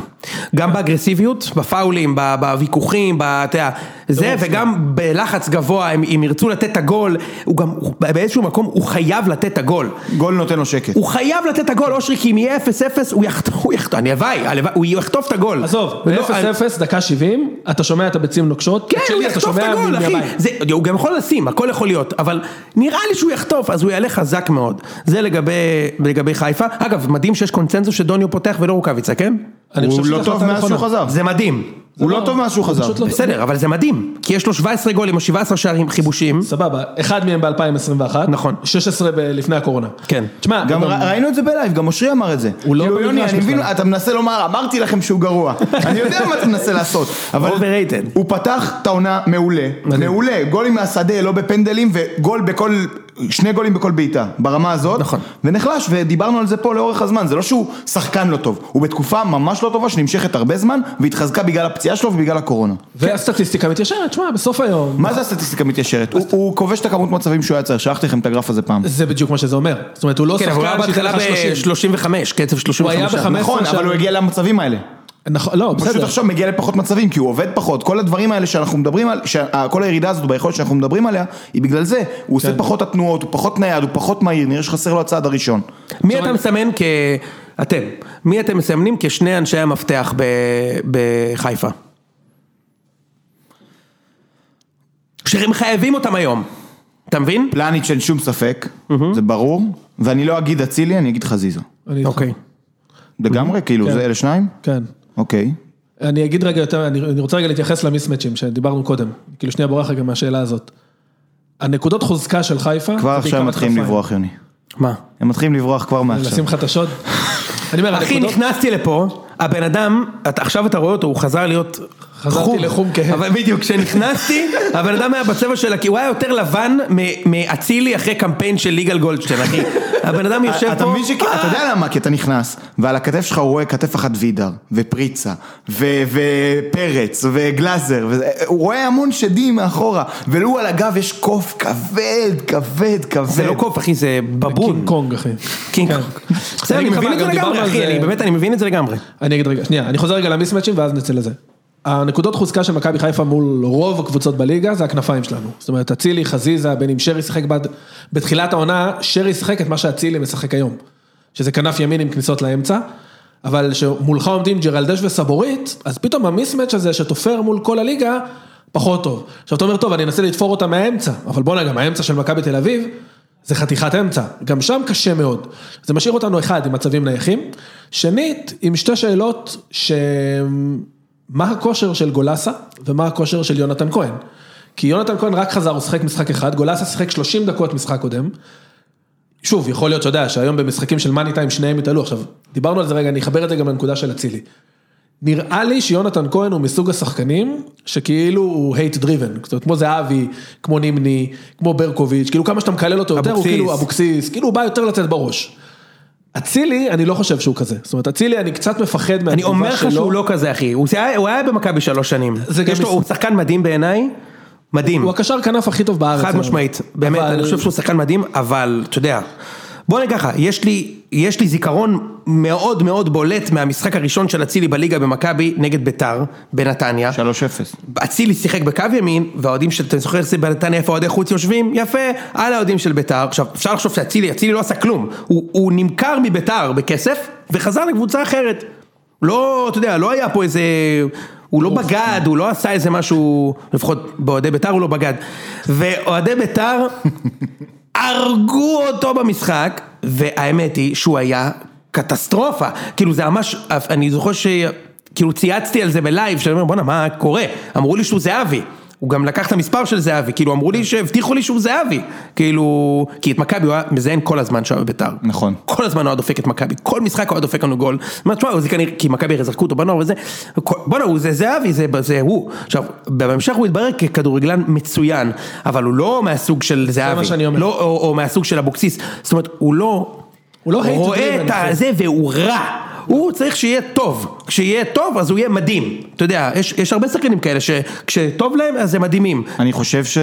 Speaker 1: גם באגרסיביות, בפאולים, ב- בוויכוחים, ב- אתה יודע, זה, וגם בלחץ גבוה, אם- אם ירצו לתת את הגול, הוא גם, הוא- באיזשהו מקום הוא חייב לתת את הגול.
Speaker 3: גול נותן לו שקט.
Speaker 1: הוא חייב לתת את הגול, אושרי, כי אם יהיה 0-0, הוא יחטוף, הוא יחטוף, אני הלוואי, הלוואי, הוא יחטוף את הגול.
Speaker 2: עזוב,
Speaker 1: לא, אני-
Speaker 2: ב-0-0, דקה 70, אתה שומע את הביצים נוקשות,
Speaker 1: כן,
Speaker 2: את שלי
Speaker 1: הוא
Speaker 2: אתה
Speaker 1: יחטוף את
Speaker 2: שומע
Speaker 1: הגול, אחי.
Speaker 2: מהבית.
Speaker 1: זה, הוא גם יכול לשים, הכל יכול להיות, אבל נראה לי שהוא יחטוף, אז הוא יעלה חזק מאוד. זה לגבי, לגבי חיפה. אגב, מדהים שיש קונצנזוס שדוניו פותח ולא רוקאביצה, כן?
Speaker 2: אני חושב
Speaker 3: הוא
Speaker 2: שזו
Speaker 3: לא טוב
Speaker 2: החלטה
Speaker 3: מאז שהוא
Speaker 2: נכונה.
Speaker 3: חזר.
Speaker 1: זה מדהים.
Speaker 3: הוא לא טוב מאז שהוא חזר.
Speaker 2: פשוט לא-
Speaker 1: בסדר, אבל זה מדהים, כי יש לו 17 גולים או 17 שערים חיבושים.
Speaker 2: סבבה, אחד מהם ב-2021.
Speaker 1: נכון.
Speaker 2: 16 ב- לפני הקורונה.
Speaker 1: כן.
Speaker 2: תשמע,
Speaker 3: גם
Speaker 2: הוא
Speaker 3: ר- ראינו את זה בלייב, גם אושרי אמר את זה.
Speaker 2: הוא לא
Speaker 3: כאילו, יוני,
Speaker 2: במגרש
Speaker 3: אני מבין,
Speaker 2: בכלל.
Speaker 3: אתה מנסה לומר, אמרתי לכם שהוא גרוע. אני יודע מה אתה מנסה לעשות. אבל
Speaker 1: Overrated.
Speaker 3: הוא פתח את העונה מעולה. מעולה. גולים מהשדה, לא בפנדלים, וגול בכל... שני גולים בכל בעיטה, ברמה הזאת.
Speaker 1: נכון.
Speaker 3: ונחלש, ודיברנו על זה פה לאורך הזמן, זה לא שהוא שחקן לא טוב. הוא בתקופה ממש לא טובה שנמשכת הרבה זמן, והתחזקה בגלל הפציעה שלו ובגלל הקורונה. כן.
Speaker 2: והסטטיסטיקה מתיישרת, תשמע, בסוף היום.
Speaker 3: מה זה הסטטיסטיקה מתיישרת? הוא- הוא כובש את הכמות מצבים שהוא היה צריך, שלחתי לכם את הגרף הזה פעם.
Speaker 2: זה בדיוק מה שזה אומר. זאת אומרת, הוא לא
Speaker 1: כן, אבל הוא היה
Speaker 2: שחקן שייתן
Speaker 1: בהתחלה
Speaker 2: לך 30.
Speaker 1: ב-35, קצב 35.
Speaker 2: הוא היה בחמש-
Speaker 3: נכון,
Speaker 2: עכשיו-
Speaker 3: אבל הוא הגיע למצבים האלה.
Speaker 2: נכון, לא,
Speaker 3: פשוט
Speaker 2: בסדר.
Speaker 3: עכשיו מגיע לפחות מצבים, כי הוא עובד פחות, כל הדברים האלה שאנחנו מדברים על, שה- אה, כל הירידה הזאת ביכולת שאנחנו מדברים עליה, היא בגלל זה, הוא עושה
Speaker 2: כן.
Speaker 3: פחות התנועות, הוא פחות נייד, הוא פחות מהיר, נראה שחסר לו הצעד הראשון.
Speaker 1: מי אתה מסמן כ... אתם, מי אתם מסמנים כשני אנשי המפתח ב... בחיפה? שהם חייבים אותם היום, אתה מבין?
Speaker 3: פלניץ' אין שום ספק, זה ברור, ואני לא אגיד אצילי, אני אגיד חזיזה.
Speaker 2: אני איתך.
Speaker 1: אוקיי.
Speaker 3: לגמרי, כאילו,
Speaker 2: כן.
Speaker 3: זה אלה שניים?
Speaker 2: כן.
Speaker 3: אוקיי.
Speaker 2: אני אגיד רגע יותר, אני אני רוצה רגע להתייחס למיסמצ'ים שדיברנו קודם. כאילו, שנייה בורח רגע מהשאלה הזאת. הנקודות חוזקה של חיפה...
Speaker 3: כבר
Speaker 2: זה
Speaker 3: עכשיו
Speaker 2: בעיקר
Speaker 3: הם מתחילים
Speaker 2: התקפה.
Speaker 3: לברוח, יוני.
Speaker 1: מה?
Speaker 3: הם מתחילים לברוח כבר מעכשיו.
Speaker 2: לשים לך את השוד? אני אומר,
Speaker 1: אחי,
Speaker 2: הנקודות...
Speaker 1: נכנסתי לפה, הבן אדם, אתה- עכשיו אתה רואה אותו, הוא חזר להיות
Speaker 2: חזרתי לחום כהה.
Speaker 1: אבל בדיוק, כשנכנסתי, הבן אדם היה בצבע של הכי, הוא היה יותר לבן מ- מאצילי אחרי קמפיין של ליגל גולדשטיין, אחי. הבן אדם יושב פה...
Speaker 3: אה,
Speaker 1: אה,
Speaker 3: אתה מבין שכי- אתה יודע למה? כי אתה נכנס, ועל הכתף שלך הוא רואה כתף אחת וידר, ופריצה, ו- ופרץ, וגלאזר, וזה- הוא רואה המון שדים מאחורה, ולו על הגב יש קוף כבד, כבד, כבד.
Speaker 1: זה לא קוף, אחי, זה בבון.
Speaker 2: קינג קונג, אחי.
Speaker 1: קינג
Speaker 2: כן.
Speaker 1: קונג. בסדר, אני
Speaker 2: אני
Speaker 1: מבין את
Speaker 2: גם
Speaker 1: זה
Speaker 2: דיברנו
Speaker 1: לגמרי,
Speaker 2: על
Speaker 1: אחי,
Speaker 2: זה-
Speaker 1: אני באמת, אני מבין את זה לגמרי.
Speaker 2: אני אגיד רגע, שנייה, אני חוזר רגע למיסמצ'ים ואז נצא לזה. הנקודות חוזקה של מכבי חיפה מול רוב הקבוצות בליגה זה הכנפיים שלנו. זאת אומרת, אצילי, חזיזה, בין אם שרי שיחק בעד... בתחילת העונה, שרי שיחק את מה שאצילי משחק היום. שזה כנף ימין עם כניסות לאמצע, אבל שמולך עומדים ג'רלדש וסבורית, אז פתאום המיסמצ' הזה שתופר מול כל הליגה, פחות טוב. עכשיו אתה אומר, טוב, אני אנסה לתפור אותה מהאמצע, אבל בואנה, גם האמצע של מכבי תל אביב, זה חתיכת אמצע, גם שם קשה מאוד. זה משאיר אותנו אחד עם מצבים נייחים, שנית עם שתי שאלות ש... מה הכושר של גולסה ומה הכושר של יונתן כהן. כי יונתן כהן רק חזר, הוא שיחק משחק אחד, גולסה שיחק 30 דקות משחק קודם. שוב, יכול להיות שאתה יודע שהיום במשחקים של מאני טיים שניהם יתעלו. עכשיו, דיברנו על זה רגע, אני אחבר את זה גם לנקודה של אצילי. נראה לי שיונתן כהן הוא מסוג השחקנים שכאילו הוא hate driven, זאת אומרת, כמו זהבי, כמו נימני, כמו ברקוביץ', כאילו כמה שאתה מקלל אותו יותר, הוא
Speaker 1: אבוקסיס.
Speaker 2: כאילו אבוקסיס, כאילו הוא בא יותר לצאת בראש. אצילי, אני לא חושב שהוא כזה, זאת אומרת, אצילי, אני קצת מפחד מהתגובה שלו.
Speaker 1: אני אומר לך שהוא לא כזה, אחי. הוא היה- הוא היה במכבי שלוש שנים.
Speaker 2: זה גם
Speaker 1: יש לו-
Speaker 2: מס-
Speaker 1: הוא שחקן מדהים בעיניי, מדהים.
Speaker 2: הוא הקשר כנף הכי טוב בארץ.
Speaker 1: חד
Speaker 2: היום.
Speaker 1: משמעית, באמת,
Speaker 2: אבל-
Speaker 1: אני חושב שהוא שחקן מדהים, אבל, אתה יודע, בוא נגיד ככה, יש לי, יש לי זיכרון מאוד מאוד בולט מהמשחק הראשון של אצילי בליגה במכבי נגד ביתר, בנתניה.
Speaker 3: 3-0.
Speaker 1: אצילי שיחק בקו ימין, והאוהדים של, אתם זוכרים בנתניה איפה אוהדי חוץ יושבים? יפה, על האוהדים של ביתר. עכשיו, אפשר לחשוב שאצילי, אצילי לא עשה כלום. הוא, הוא נמכר מביתר בכסף, וחזר לקבוצה אחרת. לא, אתה יודע, לא היה פה איזה... הוא לא בגד, הוא לא עשה איזה משהו, לפחות באוהדי ביתר הוא לא בגד. ואוהדי ביתר הרגו אותו במשחק, והאמת היא שהוא היה קטסטרופה. כאילו זה ממש, אני זוכר ש... כאילו צייצתי על זה בלייב, שאני אומר בואנה מה קורה? אמרו לי שהוא זהבי. הוא גם לקח את המספר של זהבי, כאילו אמרו לי שהבטיחו לי שהוא זהבי, כאילו, כי את מכבי הוא היה מזיין כל הזמן שם בביתר.
Speaker 3: נכון.
Speaker 1: כל הזמן אוהד דופק את מכבי, כל משחק אוהד דופק לנו גול. זאת אומרת, תשמע, זה כנראה, כי מכבי הרי זרקו אותו בנוער וזה, כל- בואנה, הוא זה זהבי, זה, זה הוא. עכשיו, בהמשך הוא התברר ככדורגלן מצוין, אבל הוא לא מהסוג של זהבי.
Speaker 2: מה שאני אומר.
Speaker 1: לא, או, או מהסוג של אבוקסיס. זאת אומרת, הוא לא...
Speaker 2: הוא לא hate
Speaker 1: רואה
Speaker 2: driven,
Speaker 1: את
Speaker 2: אחי.
Speaker 1: הזה והוא רע. הוא צריך שיהיה טוב. כשיהיה טוב, אז הוא יהיה מדהים. אתה יודע, יש, יש הרבה שחקנים כאלה שכשטוב להם, אז הם מדהימים.
Speaker 3: אני חושב ש...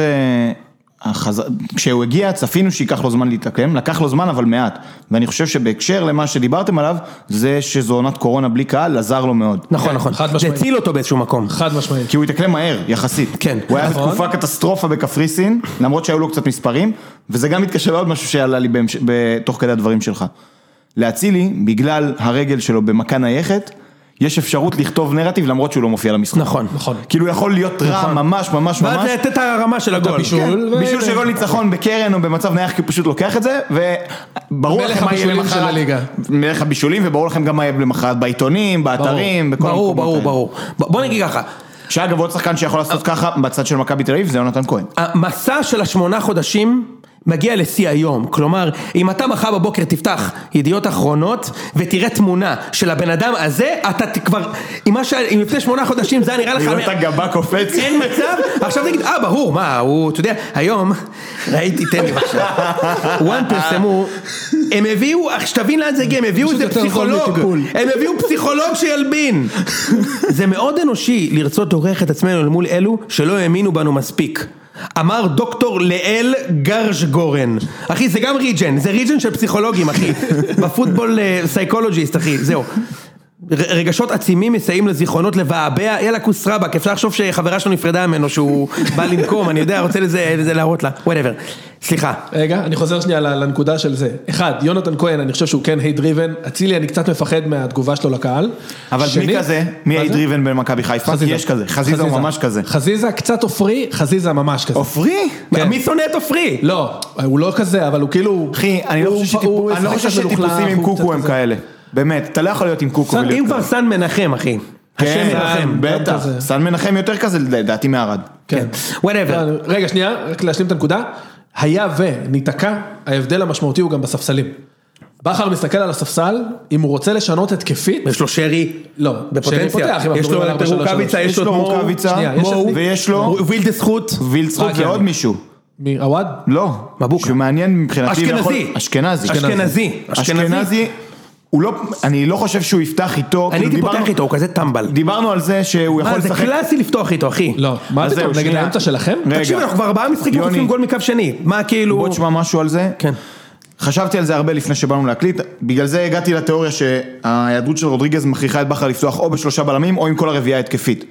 Speaker 3: החז... כשהוא הגיע צפינו שייקח לו זמן להתאקלם, לקח לו זמן אבל מעט ואני חושב שבהקשר למה שדיברתם עליו זה שזו עונת קורונה בלי קהל עזר לו מאוד
Speaker 1: נכון, נכון.
Speaker 2: כן, חד
Speaker 1: זה
Speaker 2: משמעית.
Speaker 1: הציל אותו באיזשהו מקום.
Speaker 2: חד משמעית.
Speaker 3: כי הוא התאקלם מהר, יחסית.
Speaker 1: כן,
Speaker 3: הוא היה
Speaker 2: נכון.
Speaker 3: בתקופה קטסטרופה בקפריסין, למרות שהיו לו קצת מספרים, וזה גם מתקשר לעוד משהו שעלה לי בהמש... בתוך כדי הדברים שלך. לאצילי, בגלל הרגל שלו במכה נייחת, יש אפשרות לכתוב נרטיב למרות שהוא לא מופיע למשחק.
Speaker 1: נכון.
Speaker 2: נכון.
Speaker 3: כאילו יכול להיות רע ממש ממש ממש.
Speaker 1: ואז אה, לתת את הרמה של הגול. כן.
Speaker 2: הבישול, ו-
Speaker 3: בישול של גול ניצחון בקרן או במצב נייח כי הוא פשוט לוקח את זה וברור
Speaker 2: מלך
Speaker 3: לכם מה יהיה
Speaker 2: הבישולים של
Speaker 3: למחרת,
Speaker 2: הליגה.
Speaker 3: מלך הבישולים וברור לכם גם מה יהיה למחרת בעיתונים, באתרים, בכל
Speaker 1: ברור,
Speaker 3: המקומות
Speaker 1: ברור,
Speaker 3: האלה.
Speaker 1: ברור. ב- בוא נגיד ככה,
Speaker 3: שאגב, עוד שחקן שיכול לעשות ככה בצד של מכבי תל אביב זה יונתן כהן.
Speaker 1: המסע של השמונה חודשים מגיע לשיא היום, כלומר, אם אתה מחר בבוקר תפתח ידיעות אחרונות ותראה תמונה של הבן אדם הזה, אתה ת- כבר, אם מה ש- אם לפני שמונה חודשים זה היה נראה לך...
Speaker 3: לראות את הגבה קופץ.
Speaker 2: כן.
Speaker 1: אין מצב, עכשיו תגיד, אה ברור, מה, הוא, אתה יודע, היום ראיתי, תן לי בבקשה, וואן פרסמו, הם הביאו, אך שתבין לאן זה הגיע, הם הביאו
Speaker 2: פשוט
Speaker 1: איזה
Speaker 2: יותר זול
Speaker 1: פסיכולוג,
Speaker 2: מטיפול.
Speaker 1: הם הביאו פסיכולוג שילבין. זה מאוד אנושי לרצות להוכיח את עצמנו אל מול אלו שלא האמינו בנו מספיק. אמר דוקטור לאל גרשגורן. אחי, זה גם ריג'ן, זה ריג'ן של פסיכולוגים, אחי. בפוטבול אה, סייקולוג'יסט, אחי, זהו. ר- רגשות עצימים מסייעים לזיכרונות לבעבע, יאללה כוס רבאק, אפשר לחשוב שחברה שלו נפרדה ממנו שהוא בא לנקום, אני יודע, רוצה לזה לזה להראות לה, וואטאבר. סליחה.
Speaker 2: רגע, אני חוזר שנייה ל- לנקודה של זה. אחד, יונתן כהן, אני חושב שהוא כן היי דריבן. אצילי, אני קצת מפחד מהתגובה שלו לקהל.
Speaker 3: אבל
Speaker 2: שני-
Speaker 3: מי כזה? מי
Speaker 2: מה
Speaker 3: היה
Speaker 2: זה?
Speaker 3: דריבן במכבי חיפה? כי יש כזה, חזיזה הוא ממש כזה.
Speaker 2: חזיזה קצת עופרי, חזיזה ממש כזה.
Speaker 3: עופרי?
Speaker 2: כן.
Speaker 1: מי שונא את עופרי?
Speaker 2: לא, הוא לא כזה, אבל הוא כאילו...
Speaker 3: אחי, אני לא
Speaker 2: הוא-
Speaker 3: חושב
Speaker 2: הוא- הוא
Speaker 3: שטיפ- אני לא
Speaker 2: שחקן
Speaker 3: חושב
Speaker 2: מלוכלך,
Speaker 3: שטיפוסים עם
Speaker 2: הוא
Speaker 3: קוקו
Speaker 2: קצת
Speaker 3: הם
Speaker 2: כזה.
Speaker 3: כאלה. באמת, אתה לא יכול להיות עם קוקו.
Speaker 1: סן-
Speaker 3: ולהיות
Speaker 1: אם כבר
Speaker 3: כזה.
Speaker 1: סן מנחם, אחי. השם
Speaker 3: כן,
Speaker 1: מנחם.
Speaker 3: בטח.
Speaker 2: כזה.
Speaker 3: סן מנחם יותר כזה לדעתי מערד.
Speaker 2: כן.
Speaker 1: וואטאבר.
Speaker 2: לא, רגע, שנייה, רק להשלים את הנקודה. היה וניתקע, ההבדל המשמעותי הוא גם בספסלים. בכר מסתכל על הספסל, אם הוא רוצה לשנות התקפית,
Speaker 1: יש לו שרי,
Speaker 2: לא, שרי
Speaker 1: בפוטנציה,
Speaker 2: פותח, אם אנחנו
Speaker 1: יש לו
Speaker 2: מדברים על
Speaker 1: את
Speaker 2: 4-3-3.
Speaker 1: רוקאביצה, יש לו את מו,
Speaker 3: רוקאביצה,
Speaker 2: שנייה, יש
Speaker 3: מו,
Speaker 2: את-
Speaker 3: ויש לו
Speaker 1: וילדס חוט,
Speaker 3: וילצחוט
Speaker 2: רק
Speaker 3: ועוד
Speaker 2: יאללה.
Speaker 3: מישהו.
Speaker 2: מי, עווד?
Speaker 3: לא.
Speaker 1: מבוקה.
Speaker 3: שהוא מעניין מבחינתי.
Speaker 1: אשכנזי.
Speaker 3: ויכול- אשכנזי.
Speaker 1: אשכנזי.
Speaker 3: אשכנזי. הוא לא, אני לא חושב שהוא יפתח איתו.
Speaker 1: אני
Speaker 3: כאילו,
Speaker 1: הייתי
Speaker 3: דיברנו-
Speaker 1: פותח איתו, הוא כזה טמבל.
Speaker 3: דיברנו על זה שהוא יכול
Speaker 1: מה, זה
Speaker 3: לשחק.
Speaker 1: קלאסי לפתוח איתו, אחי.
Speaker 2: לא, מה
Speaker 3: אז
Speaker 2: פתאום,
Speaker 3: זהו,
Speaker 2: נגד
Speaker 3: שנייה.
Speaker 2: האמצע שלכם?
Speaker 3: רגע.
Speaker 1: תקשיב, אנחנו כבר ארבעה משחקים
Speaker 3: יוני.
Speaker 1: חוטפים גול מקו שני. מה, כאילו...
Speaker 3: בוא תשמע אה, משהו על זה.
Speaker 1: כן.
Speaker 3: חשבתי על זה הרבה לפני שבאנו להקליט, בגלל זה הגעתי לתיאוריה שההיעדרות של רודריגז מכריחה את בכר לפתוח או בשלושה בלמים או עם כל הרביעייה התקפית.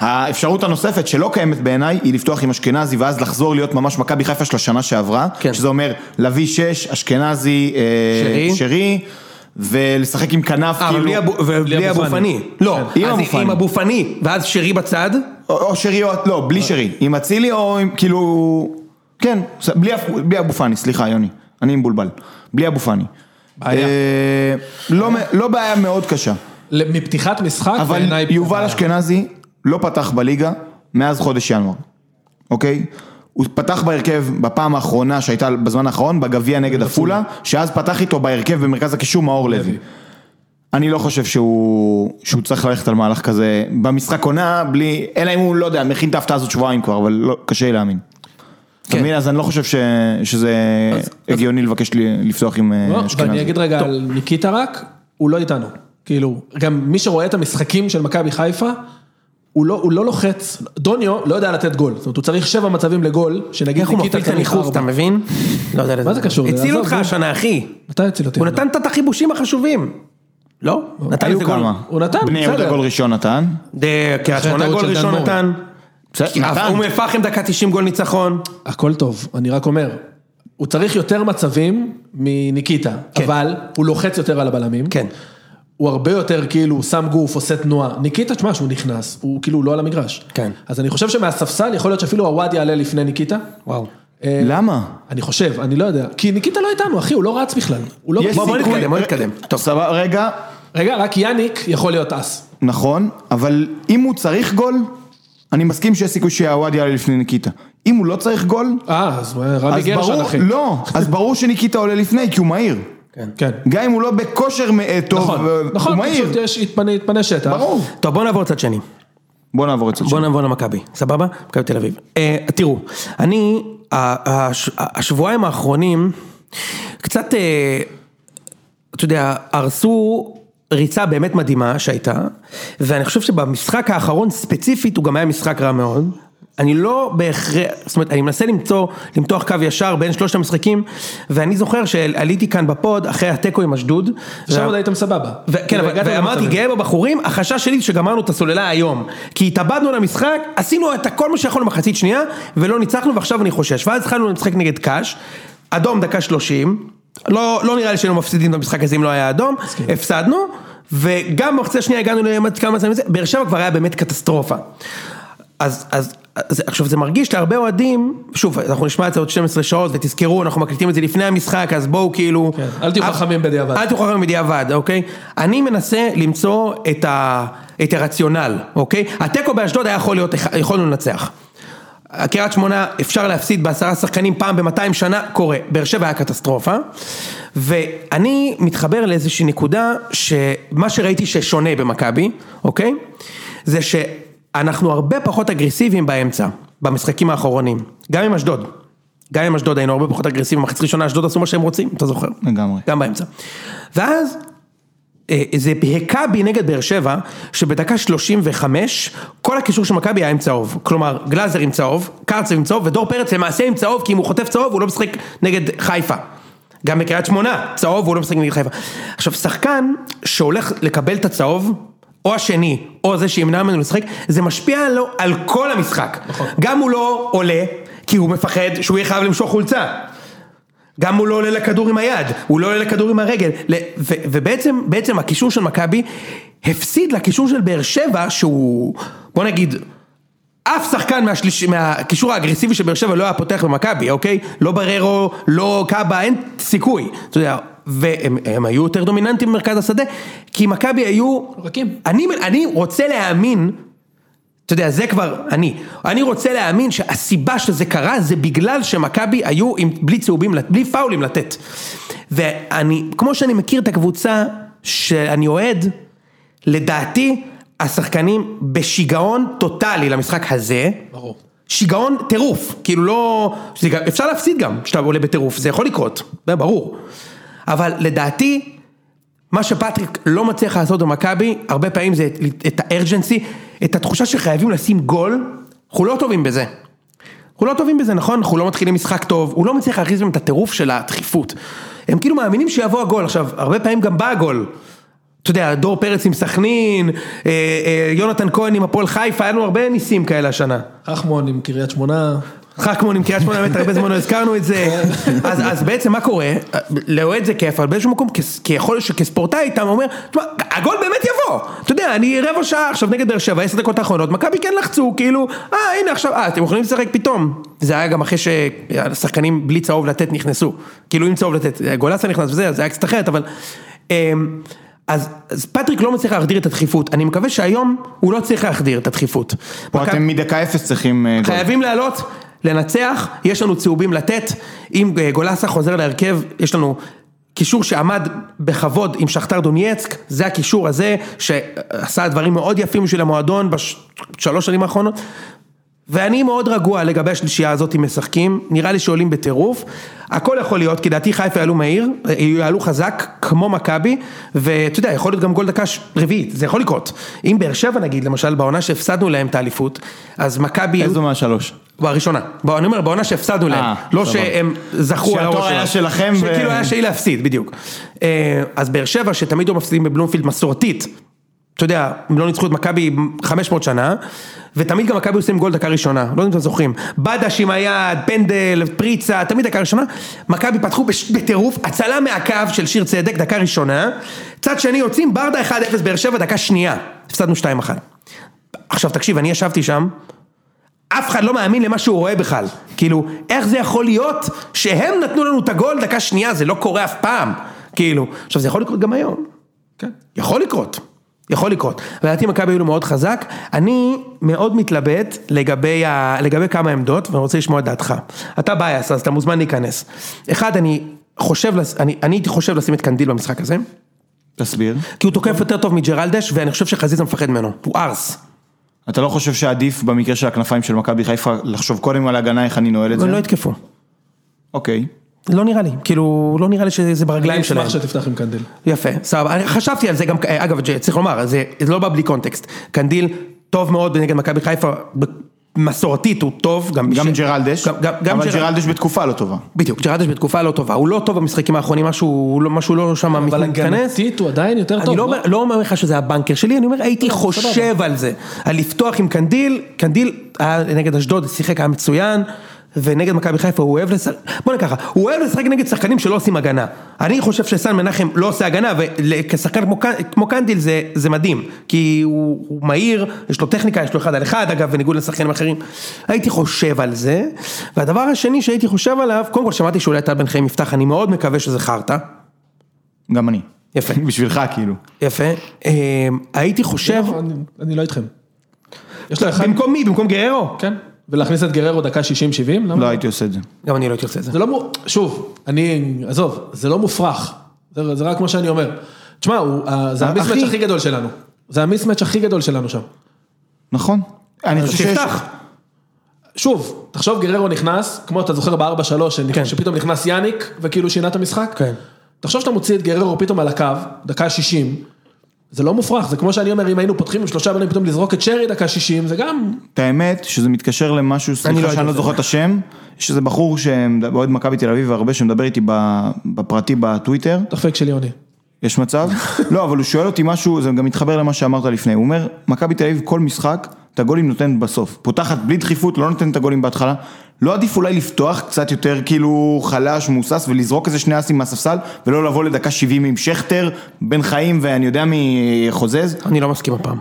Speaker 3: האפשרות הנוספת שלא קיימת בעיניי היא לפתוח עם אשכנזי ואז לחזור להיות ממש מכבי חיפה של השנה שעברה,
Speaker 1: כן.
Speaker 3: שזה אומר לביא שש, אשכנזי, אה,
Speaker 1: שרי.
Speaker 3: שרי, ולשחק עם כנף
Speaker 1: אה, אבל
Speaker 3: כאילו,
Speaker 1: בלי אבו- ובלי
Speaker 2: אבו
Speaker 1: אבו
Speaker 2: פאני.
Speaker 1: פאני. לא,
Speaker 3: כן. עם
Speaker 1: אז
Speaker 3: אבו פאני.
Speaker 1: עם אבו פאני, ואז שרי בצד.
Speaker 3: או, או שרי או, לא, בלי שרי, עם אצילי או עם כאילו, כן, ס- בלי, אף- בלי אבו פאני, סליחה יוני, אני מבולבל, בלי אבו פאני.
Speaker 2: בעיה.
Speaker 3: אה, לא, מ- לא בעיה מאוד קשה.
Speaker 2: ל- מפתיחת משחק,
Speaker 3: אבל
Speaker 2: בעיניי-
Speaker 3: יובל אשכנזי לא פתח בליגה מאז חודש ינואר, אוקיי? הוא פתח בהרכב בפעם האחרונה שהייתה בזמן האחרון, בגביע נגד עפולה, שאז פתח איתו בהרכב במרכז הקישור מאור לוי. אני לא חושב שהוא, שהוא צריך ללכת על מהלך כזה במשחק עונה, בלי, אלא אם הוא, לא יודע, מכין את ההפתעה הזאת שבועיים כבר, אבל לא, קשה לי להאמין.
Speaker 2: כן.
Speaker 3: אתה מבין? אז אני לא חושב ש, שזה הגיוני לבקש ל- לפתוח עם אה,
Speaker 2: לא,
Speaker 3: אשכנזי.
Speaker 2: ואני אגיד רגע על ניקיטה רק, הוא לא איתנו. כאילו, גם מי שרואה את המשחקים של מכבי חיפה, הוא לא, הוא לא לוחץ, דוניו לא יודע לתת גול, זאת אומרת הוא צריך שבע מצבים לגול, שנגיד
Speaker 1: איך הוא
Speaker 2: ניקיטה
Speaker 1: מפעיל את הניחוס, אתה מבין? לא יודע.
Speaker 2: מה זה כן. קשור?
Speaker 1: הציל
Speaker 2: עזוב,
Speaker 1: אותך
Speaker 2: נו.
Speaker 1: השנה, אחי.
Speaker 2: מתי הציל אותי?
Speaker 1: הוא נתן את החיבושים החשובים. לא? נתן
Speaker 3: היו
Speaker 1: איזה גול.
Speaker 3: כמה.
Speaker 2: הוא נתן,
Speaker 3: בני יהודה
Speaker 2: בסדר.
Speaker 3: גול ראשון נתן.
Speaker 1: דה, קריית
Speaker 2: אחרי
Speaker 1: שמונה
Speaker 2: הטעות
Speaker 1: גול
Speaker 2: של דן
Speaker 1: ראשון
Speaker 2: מור.
Speaker 1: נתן.
Speaker 3: בסדר, נתן.
Speaker 1: אום אל פחם דקה 90 גול ניצחון.
Speaker 2: הכל טוב, אני רק אומר, הוא צריך יותר מצבים מניקיטה,
Speaker 1: כן.
Speaker 2: אבל הוא לוחץ יותר על הבלמים.
Speaker 1: כן.
Speaker 2: הוא הרבה יותר כאילו הוא שם גוף, עושה תנועה. ניקיטה, תשמע, שהוא נכנס, הוא כאילו לא על המגרש.
Speaker 1: כן.
Speaker 2: אז אני חושב שמהספסל יכול להיות שאפילו הוואד יעלה לפני ניקיטה.
Speaker 1: וואו.
Speaker 2: אה,
Speaker 3: למה?
Speaker 2: אני חושב, אני לא יודע. כי ניקיטה לא איתנו, אחי, הוא לא רץ בכלל. הוא לא...
Speaker 3: יש
Speaker 1: בוא, בוא
Speaker 3: סיכוי-
Speaker 1: נתקדם, בוא נתקדם.
Speaker 3: טוב, סבבה, רגע,
Speaker 2: רגע, רק יאניק יכול להיות אס.
Speaker 3: נכון, אבל אם הוא צריך גול, אני מסכים שיש סיכוי שהוואד יעלה לפני ניקיטה. אם הוא לא צריך גול,
Speaker 2: אה, אז הוא היה רבי
Speaker 3: אז
Speaker 2: גרשון,
Speaker 3: ברור,
Speaker 2: אחי.
Speaker 3: לא, אז ברור שניקיטה עולה לפני, כי הוא מהיר.
Speaker 2: כן.
Speaker 3: גם אם הוא לא בכושר מ- אה, טוב,
Speaker 2: נכון,
Speaker 3: אה, הוא
Speaker 2: נכון,
Speaker 3: מהיר.
Speaker 2: פשוט יש, התפנה, התפנה שטח.
Speaker 3: ברור.
Speaker 1: טוב, בוא נעבור לצד שני.
Speaker 3: בוא נעבור לצד
Speaker 1: בוא
Speaker 3: שני.
Speaker 1: נעבור למכבי, סבבה? מכבי תל אביב. אה, תראו, אני, ה- הש- השבועיים האחרונים, קצת, אה, אתה יודע, הרסו ריצה באמת מדהימה שהייתה, ואני חושב שבמשחק האחרון ספציפית הוא גם היה משחק רע מאוד. אני לא בהכרח, זאת אומרת, אני מנסה למצוא, למתוח קו ישר בין שלושת המשחקים, ואני זוכר שעליתי כאן בפוד אחרי התיקו עם אשדוד.
Speaker 2: שם
Speaker 1: וה-
Speaker 2: עוד הייתם סבבה.
Speaker 1: ו- כן,
Speaker 2: כאילו,
Speaker 1: אבל-
Speaker 2: הגעתם
Speaker 1: ואמרתי
Speaker 2: למצבים.
Speaker 1: גאה בבחורים, החשש שלי שגמרנו את הסוללה היום. כי התאבדנו למשחק, עשינו את כל מה שיכולנו במחצית שנייה, ולא ניצחנו, ועכשיו אני חושש. ואז התחלנו לשחק נגד קאש, אדום דקה 30, לא, לא נראה לי שהיינו מפסידים במשחק הזה אם לא היה אדום, הפסדנו, וגם במחצית השנייה הגענו לכמה מצבים, זה- באר שבע כבר היה באמת קטסטרופה. אז, אז זה- עכשיו זה מרגיש להרבה אוהדים, שוב אנחנו נשמע את זה עוד 12 שעות ותזכרו אנחנו מקליטים את זה לפני המשחק אז בואו כאילו,
Speaker 2: כן, אל תהיו
Speaker 1: אף-
Speaker 2: חכמים בדיעבד.
Speaker 1: אל תהיו חכמים בדיעבד, אוקיי? אני מנסה למצוא את, ה, את הרציונל, אוקיי? התיקו באשדוד היה יכול להיות, יכולנו לנצח. קריית שמונה אפשר להפסיד בעשרה שחקנים פעם ב-200 שנה, קורה. באר שבע היה קטסטרופה. ואני מתחבר לאיזושהי נקודה שמה שראיתי ששונה במכבי, אוקיי? זה שאנחנו הרבה פחות אגרסיביים באמצע, במשחקים האחרונים. גם עם אשדוד. גם עם אשדוד היינו הרבה פחות אגרסיביים, במחצית ראשונה אשדוד עשו מה שהם רוצים, אתה זוכר?
Speaker 3: לגמרי.
Speaker 1: גם באמצע. ואז אה, זה מכבי נגד באר שבע, שבדקה 35, כל הקישור של מכבי היה עם צהוב. כלומר, גלאזר עם צהוב, קרצב עם צהוב, ודור פרץ למעשה עם צהוב, כי אם הוא חוטף צהוב הוא לא משחק נגד חיפה. גם בקריית שמונה, צהוב הוא לא משחק נגד חיפה. עכשיו, שחקן שהולך לקבל את הצהוב, או השני, או זה שימנע ממנו לשחק, זה משפיע לו על כל המשחק. נכון. גם הוא לא עולה, כי הוא מפחד שהוא יהיה חייב למשוך חולצה. גם הוא לא עולה לכדור עם היד, הוא לא עולה לכדור עם הרגל, ל- ו- ובעצם בעצם הקישור של מכבי הפסיד לקישור של באר שבע שהוא בוא נגיד אף שחקן מהשליש, מהקישור האגרסיבי של באר שבע לא היה פותח במכבי, אוקיי? לא בררו, לא קאבה, אין סיכוי, אתה יודע, והם הם היו יותר דומיננטיים במרכז השדה, כי מכבי היו...
Speaker 2: רכים.
Speaker 1: אני, אני רוצה להאמין אתה יודע, זה כבר אני. אני רוצה להאמין שהסיבה שזה קרה זה בגלל שמכבי היו עם, בלי צהובים, לת- בלי פאולים לתת. ואני, כמו שאני מכיר את הקבוצה שאני אוהד, לדעתי השחקנים בשיגעון טוטאלי למשחק הזה.
Speaker 2: ברור.
Speaker 1: שיגעון טירוף, כאילו לא... שזה גם- אפשר להפסיד גם כשאתה עולה בטירוף, זה יכול לקרות, זה ברור. אבל לדעתי, מה שפטריק לא מצליח לעשות במכבי, הרבה פעמים זה את- את הארג'נסי, את התחושה שחייבים לשים גול, אנחנו לא טובים בזה. אנחנו לא טובים בזה, נכון? אנחנו לא מתחילים משחק טוב, הוא לא מצליח להכניס בהם את הטירוף של הדחיפות. הם כאילו מאמינים שיבוא הגול, עכשיו, הרבה פעמים גם בא הגול. אתה יודע, דור פרץ עם סכנין, אה, אה, יונתן כהן עם הפועל חיפה, היה לנו הרבה ניסים כאלה השנה.
Speaker 2: חכמון עם קריית שמונה,
Speaker 1: חכמון עם קריית שמונה, באמת הרבה זמן לא הזכרנו את זה. אז, אז בעצם מה קורה? לאוהד זה כיף, אבל באיזשהו מקום, כס- כיכול להיות שכספורטאי אתה אומר, תשמע, הגול באמת יבוא. אתה יודע, אני רבע שעה עכשיו נגד באר שבע, עשר דקות האחרונות, מכבי כן לחצו, כאילו, אה הנה עכשיו, אה אתם יכולים לשחק פתאום. זה היה גם אחרי שהשחקנים בלי צהוב לתת נכנסו. כאילו עם צהוב לתת, גולסה נכנס וזה, אז זה היה קצת אחרת, אבל... אמ, אז, אז פטריק לא מצליח להחדיר את הדחיפות, אני מקווה שהיום הוא לא צריך להחדיר את הדחיפות.
Speaker 3: פה
Speaker 1: מכבי-
Speaker 3: אתם מדקה אפס צריכים... אה, גול.
Speaker 1: חייבים לעלות, לנצח, יש לנו צהובים לתת, אם אה, גולסה חוזר להרכב, יש לנו קישור שעמד בכבוד עם שכתר דונייצק, זה הקישור הזה שעשה דברים מאוד יפים בשביל המועדון בשלוש שנים האחרונות. ואני מאוד רגוע לגבי השלישייה הזאת אם משחקים, נראה לי שעולים בטירוף, הכל יכול להיות, כי דעתי חיפה יעלו מהיר, אה, יעלו חזק, כמו מכבי, ואתה יודע, יכול להיות גם גול דקה ש- רביעית, זה יכול לקרות. אם באר שבע נגיד, למשל, בעונה שהפסדנו להם את האליפות, אז מכבי...
Speaker 3: איזו מהשלוש?
Speaker 1: בראשונה, בוא, אני אומר בעונה שהפסדנו להם,
Speaker 3: אה,
Speaker 1: לא
Speaker 3: סבבה.
Speaker 1: שהם זכו על
Speaker 3: שהתואר
Speaker 1: הראש שלנו.
Speaker 3: היה שלכם ו-
Speaker 1: שכאילו היה שלי להפסיד, בדיוק. אה, אז באר שבע, שתמיד היו מפסידים בבלומפילד מסורתית, אתה יודע, הם לא ניצחו את מכבי 500 שנה, ותמיד גם מכבי עושים גול דקה ראשונה, לא יודע אם אתם זוכרים. בדש עם היד, פנדל, פריצה, תמיד דקה ראשונה. מכבי פתחו בש- בטירוף, הצלה מהקו של שיר צדק, דקה ראשונה. צד שני יוצאים, ברדה 1-0 באר שבע, דקה שנייה. הפסדנו 2-1. עכשיו תקשיב, אני ישבתי שם, אף אחד לא מאמין למה שהוא רואה בכלל. כאילו, איך זה יכול להיות שהם נתנו לנו את הגול דקה שנייה, זה לא קורה אף פעם. כאילו, עכשיו זה יכול לקרות גם היום.
Speaker 2: כן.
Speaker 1: יכול לקרות. יכול לקרות. לדעתי מכבי היו מאוד חזק, אני מאוד מתלבט לגבי, ה... לגבי כמה עמדות, ואני רוצה לשמוע את דעתך. אתה בייס, אז אתה מוזמן להיכנס. אחד, אני חושב, לס- אני, אני הייתי חושב לשים את קנדיל במשחק הזה,
Speaker 3: תסביר.
Speaker 1: כי הוא תוקף יותר טוב מג'רלדש, ואני חושב שחזיזה מפחד ממנו, הוא ארס.
Speaker 3: אתה לא חושב שעדיף במקרה של הכנפיים של מכבי חיפה לחשוב קודם על ההגנה איך אני נועל את זה?
Speaker 1: הם לא יתקפו.
Speaker 3: אוקיי.
Speaker 1: לא נראה לי, כאילו, לא נראה לי שזה
Speaker 2: אני
Speaker 1: ברגליים שלהם.
Speaker 2: אשמח שתפתח עם קנדל.
Speaker 1: יפה, סבבה, אני חשבתי על זה גם, אה, אגב, ג'ה, צריך לומר, זה, זה לא בא בלי קונטקסט, קנדיל טוב מאוד נגד מכבי חיפה, ב- מסורתית הוא טוב, גם,
Speaker 3: גם
Speaker 1: בש-
Speaker 3: ג'רלדש,
Speaker 1: גם, גם, גם
Speaker 3: אבל
Speaker 1: ג'רלדש,
Speaker 3: ג'רלדש בתקופה לא טובה.
Speaker 1: בדיוק, ג'רלדש בתקופה לא טובה, הוא לא טוב במשחקים האחרונים, משהו, לא- משהו לא שם
Speaker 2: אבל
Speaker 1: מתכנס,
Speaker 2: הגנתית הוא עדיין יותר טוב.
Speaker 1: אני לא אומר- לא אומר לך שזה הבנקר שלי, אני אומר הייתי
Speaker 2: לא,
Speaker 1: חושב
Speaker 2: סבבה.
Speaker 1: על זה, על לפתוח עם קנדיל, קנדיל היה נגד אשדוד, שיחק היה מצוין, ונגד מכבי חיפה הוא אוהב לשחק, בוא נגיד ככה, הוא אוהב לשחק נגד שחקנים שלא עושים הגנה. אני חושב שסן מנחם לא עושה הגנה, וכשחקן כמו, קנ- כמו קנדיל זה, זה מדהים, כי הוא, הוא מהיר, יש לו טכניקה, יש לו אחד על אחד, אגב, בניגוד לשחקנים אחרים. הייתי חושב על זה, והדבר השני שהייתי חושב עליו, קודם כל שמעתי שאולי טל בן חיים יפתח, אני מאוד מקווה שזה חרטא,
Speaker 3: גם אני.
Speaker 1: יפה.
Speaker 3: בשבילך, כאילו.
Speaker 1: יפה, אה, הייתי חושב,
Speaker 2: אני- אני לא איתכם. יש לו אחד,
Speaker 1: במקום מי? במקום גררו?
Speaker 2: כן, ולהכניס את גררו דקה 60-70, למה?
Speaker 3: לא הייתי עושה את זה.
Speaker 1: גם אני לא הייתי עושה את זה.
Speaker 2: זה לא, מו- שוב, אני, עזוב, זה לא מופרך, זה, זה רק מה שאני אומר. תשמע, הוא- ה- זה
Speaker 3: אחי.
Speaker 2: המיסמץ' הכי גדול שלנו. זה המיסמץ' הכי גדול שלנו שם.
Speaker 3: נכון. אני חושב שיש...
Speaker 1: שיפתח.
Speaker 2: שוב, תחשוב גררו נכנס, כמו אתה זוכר ב-4-3, שנכ-
Speaker 1: כן.
Speaker 2: שפתאום נכנס יאניק וכאילו שינה את המשחק.
Speaker 1: כן.
Speaker 2: תחשוב שאתה מוציא את גררו פתאום על הקו, דקה 60, זה לא מופרך, זה כמו שאני אומר, אם היינו פותחים עם שלושה בנים פתאום לזרוק את שרי דקה 60, זה גם...
Speaker 3: את האמת, שזה מתקשר למשהו,
Speaker 1: לא
Speaker 3: סליחה
Speaker 1: הייתי
Speaker 3: שאני לא
Speaker 1: עושה
Speaker 3: זוכר את השם, יש איזה בחור שאוהד מכבי תל אביב הרבה, שמדבר איתי ב- בפרטי בטוויטר,
Speaker 2: דפק של יוני.
Speaker 3: יש מצב? לא, אבל הוא שואל אותי משהו, זה גם מתחבר למה שאמרת לפני, הוא אומר, מכבי תל אביב כל משחק, את הגולים נותנת בסוף, פותחת בלי דחיפות, לא נותנת את הגולים בהתחלה, לא עדיף אולי לפתוח קצת יותר כאילו חלש, מהוסס, ולזרוק איזה שני אסים מהספסל, ולא לבוא לדקה 70 עם שכטר, בן חיים ואני יודע מי חוזז,
Speaker 1: אני לא מסכים הפעם.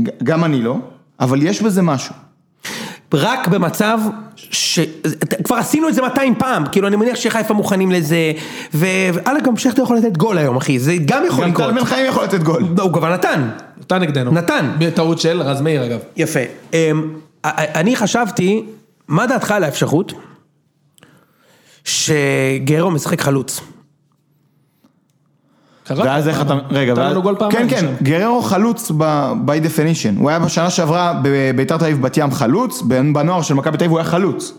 Speaker 3: ג- גם אני לא, אבל יש בזה משהו.
Speaker 1: רק במצב ש... כבר עשינו את זה 200 פעם, כאילו אני מניח שחיפה מוכנים לזה, ו- ואללה גם שכטר יכול לתת גול היום אחי, זה גם יכול
Speaker 3: גם
Speaker 1: לקרות.
Speaker 3: טל בן חיים יכול לתת גול.
Speaker 1: לא, הוא כבר נתן.
Speaker 2: נתן נגדנו.
Speaker 1: נתן.
Speaker 2: בטעות של רז מאיר אגב.
Speaker 1: יפה. אמ, א- א- אני חשבתי, מה דעתך על האפשרות שגרו משחק חלוץ?
Speaker 2: קרה.
Speaker 3: ואז איך אתה, רגע,
Speaker 2: נתן
Speaker 3: ואז-
Speaker 2: לנו גול
Speaker 3: כן
Speaker 2: פעמיים
Speaker 3: כן,
Speaker 2: שם.
Speaker 3: גררו חלוץ ב- by definition, הוא היה בשנה שעברה בביתר תל אביב בת ים חלוץ, בנ- בנוער של מכבי תל אביב הוא היה חלוץ.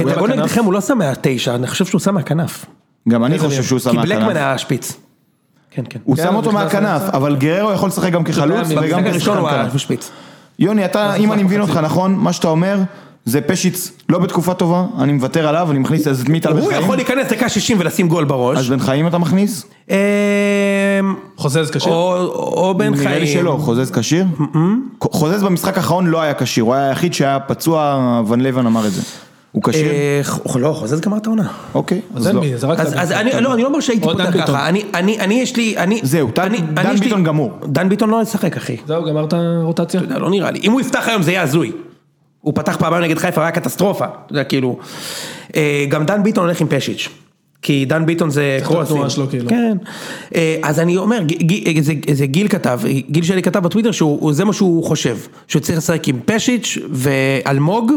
Speaker 1: את
Speaker 2: הוא היה
Speaker 1: הגול
Speaker 2: בכנף.
Speaker 1: נגדכם הוא לא שם מהתשע, אני חושב שהוא שם מהכנף.
Speaker 3: גם אני חושב שהוא שם
Speaker 1: כן, כי בלקמן
Speaker 3: מהכנף.
Speaker 1: היה השפיץ. כן, כן.
Speaker 3: הוא
Speaker 2: כן,
Speaker 3: שם
Speaker 2: הוא
Speaker 3: אותו
Speaker 2: נכנס
Speaker 3: מהכנף,
Speaker 2: לאמצע.
Speaker 3: אבל גררו יכול לשחק גם כחלוץ
Speaker 2: פעמים.
Speaker 3: וגם
Speaker 1: במשחק הראשון
Speaker 3: כשחקן
Speaker 1: הוא היה
Speaker 3: כנף.
Speaker 1: שפיץ.
Speaker 3: יוני, אתה, אם אני מבין אותך נכון, מה שאתה אומר, זה פשיץ לא בתקופה טובה, אני מוותר עליו, אני מכניס אז את מי טל בן
Speaker 1: הוא יכול
Speaker 3: חיים?
Speaker 1: להיכנס דקה 60 ולשים גול
Speaker 3: אז
Speaker 1: בראש.
Speaker 3: בן חיים אתה מכניס?
Speaker 1: אמ,
Speaker 2: חוזז קשה.
Speaker 1: או, או בן חיים.
Speaker 3: נראה לי שלא, חוזז כשיר? חוזז במשחק האחרון לא היה כשיר, הוא היה היחיד שהיה פצוע, ון לבן אמר את זה. הוא כשיר?
Speaker 1: אה, ח- לא, חוזז גמר את העונה.
Speaker 3: אוקיי, אז
Speaker 2: אז אין
Speaker 3: לא.
Speaker 2: מי, זה רק...
Speaker 1: אז, אז אני, לא, אני לא אומר שהייתי
Speaker 2: או דן
Speaker 1: פותח
Speaker 2: ביטון.
Speaker 1: ככה, אני, אני, אני יש לי, אני,
Speaker 3: זהו, דן-
Speaker 1: אני,
Speaker 3: דן
Speaker 1: אני יש לי-
Speaker 3: ביטון גמור.
Speaker 1: דן ביטון לא ישחק אחי,
Speaker 2: זהו, גמרת רוטציה?
Speaker 1: לא, לא נראה לי, אם הוא יפתח היום זה יהיה הזוי, הוא פתח פעמיים נגד חיפה, היה קטסטרופה, אתה יודע, כאילו, אה, גם דן ביטון הולך עם פשיץ', כי דן ביטון זה
Speaker 2: את
Speaker 1: קרוסים,
Speaker 2: התנועה שלו, כאילו.
Speaker 1: כן, אה, אז אני אומר, ג- ג- זה- זה גיל כתב, גיל שלי כתב בטוויטר שהוא, הוא- זה מה שהוא חושב, שהוא צריך לשחק עם פשיץ' ואלמוג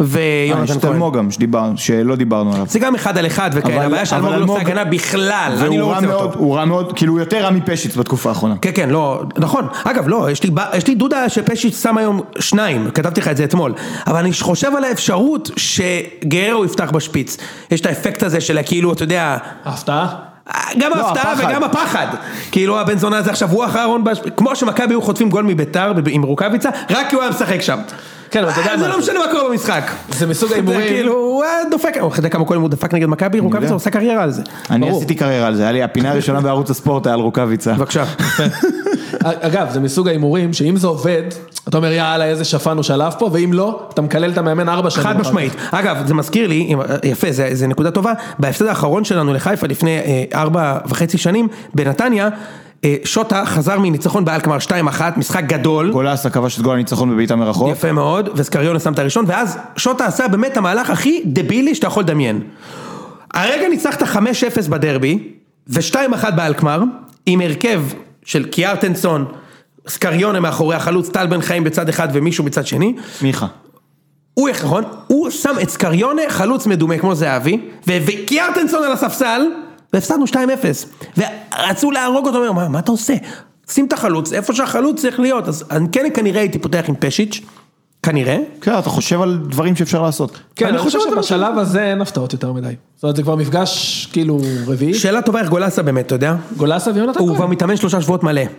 Speaker 3: אה, יש
Speaker 1: ויונתן
Speaker 3: את
Speaker 1: כהן.
Speaker 3: אלמוג גם, שדיבר- שלא דיברנו עליו.
Speaker 1: זה גם אחד על אחד
Speaker 3: אבל-
Speaker 1: וכאלה, הבעיה
Speaker 3: אבל
Speaker 1: שאלמוג לא
Speaker 3: אלמוג-
Speaker 1: עושה הגנה בכלל, אני לא
Speaker 3: והוא רע
Speaker 1: רוצה
Speaker 3: מאוד,
Speaker 1: אותו.
Speaker 3: הוא רע מאוד, כאילו הוא יותר רע מפשיץ בתקופה האחרונה.
Speaker 1: כן כן לא נכון אגב לא יש לי, ב- יש לי דודה שפשיץ' שם היום שניים כתבתי לך את זה אתמול אבל אני חושב על האפשרות שגררו יפתח בשפיץ יש את האפקט הזה של הכאילו אתה יודע
Speaker 2: ההפתעה?
Speaker 1: גם
Speaker 3: לא,
Speaker 1: ההפתעה
Speaker 3: הפחד.
Speaker 1: וגם הפחד כאילו הבן זונה הזה עכשיו הוא האחרון בשפיץ כמו שמכבי היו חוטפים גול מביתר בב- עם רוקאביצה רק כי הוא היה משחק שם
Speaker 2: כן, אבל אתה יודע
Speaker 1: אה, זה
Speaker 2: מה
Speaker 1: לא
Speaker 2: זה.
Speaker 1: משנה מה קורה במשחק
Speaker 2: זה מסוג ההימורים.
Speaker 1: כאילו הוא היה דופק אתה יודע כמה קודם הוא דפק נגד מכבי רוקאביצה
Speaker 3: יודע.
Speaker 1: עושה קריירה על זה
Speaker 3: אני
Speaker 2: ברור.
Speaker 3: עשיתי קריירה על זה, היה לי הפינה הראשונה בערוץ הספורט היה על רוקאביצה.
Speaker 1: בבקשה
Speaker 2: אגב, זה מסוג ההימורים שאם זה עובד, אתה אומר יאללה איזה שפן הוא שלף פה, ואם לא, אתה מקלל את המאמן ארבע שנים.
Speaker 1: חד
Speaker 2: אחר כך.
Speaker 1: משמעית. אגב, זה מזכיר לי, אם- יפה, זה, זה נקודה טובה, בהפסד האחרון שלנו לחיפה לפני אה, ארבע וחצי שנים, בנתניה, אה, שוטה חזר מניצחון באלקמר 2-1, משחק גדול.
Speaker 3: גולסה כבש את גול הניצחון בבעיטה מרחוק.
Speaker 1: יפה מאוד, וסקריונה שם את הראשון, ואז שוטה עשה באמת את המהלך הכי דבילי שאתה יכול לדמיין. הרגע ניצחת 5-0 בדרבי, ו-2-1 באלקמר, עם הרכב של קיארטנסון, סקריונה מאחורי החלוץ, טל בן חיים בצד אחד ומישהו מצד שני,
Speaker 3: מיכה.
Speaker 1: הוא איך נכון? הוא שם את סקריונה, חלוץ מדומה כמו זהבי, ו- וקיארטנסון על הספסל, והפסדנו 2-0. ורצו להרוג אותו, אומר, מה, מה אתה עושה? שים את החלוץ, איפה שהחלוץ צריך להיות. אז אני כן כנראה הייתי פותח עם פשיץ', כנראה.
Speaker 3: כן, אתה חושב על דברים שאפשר לעשות.
Speaker 2: כן,
Speaker 1: אני
Speaker 2: אני חושב
Speaker 1: חושב שזה
Speaker 2: שבשלב הזה אין הפתעות יותר מדי. זאת אומרת, זה כבר מפגש כאילו רביעי.
Speaker 1: שאלה טובה איך גולסה באמת, אתה יודע?
Speaker 2: גולסה ויונתן
Speaker 1: הוא כבר
Speaker 2: כהן.
Speaker 1: מתאמן שלושה שבועות מלא.
Speaker 2: כן.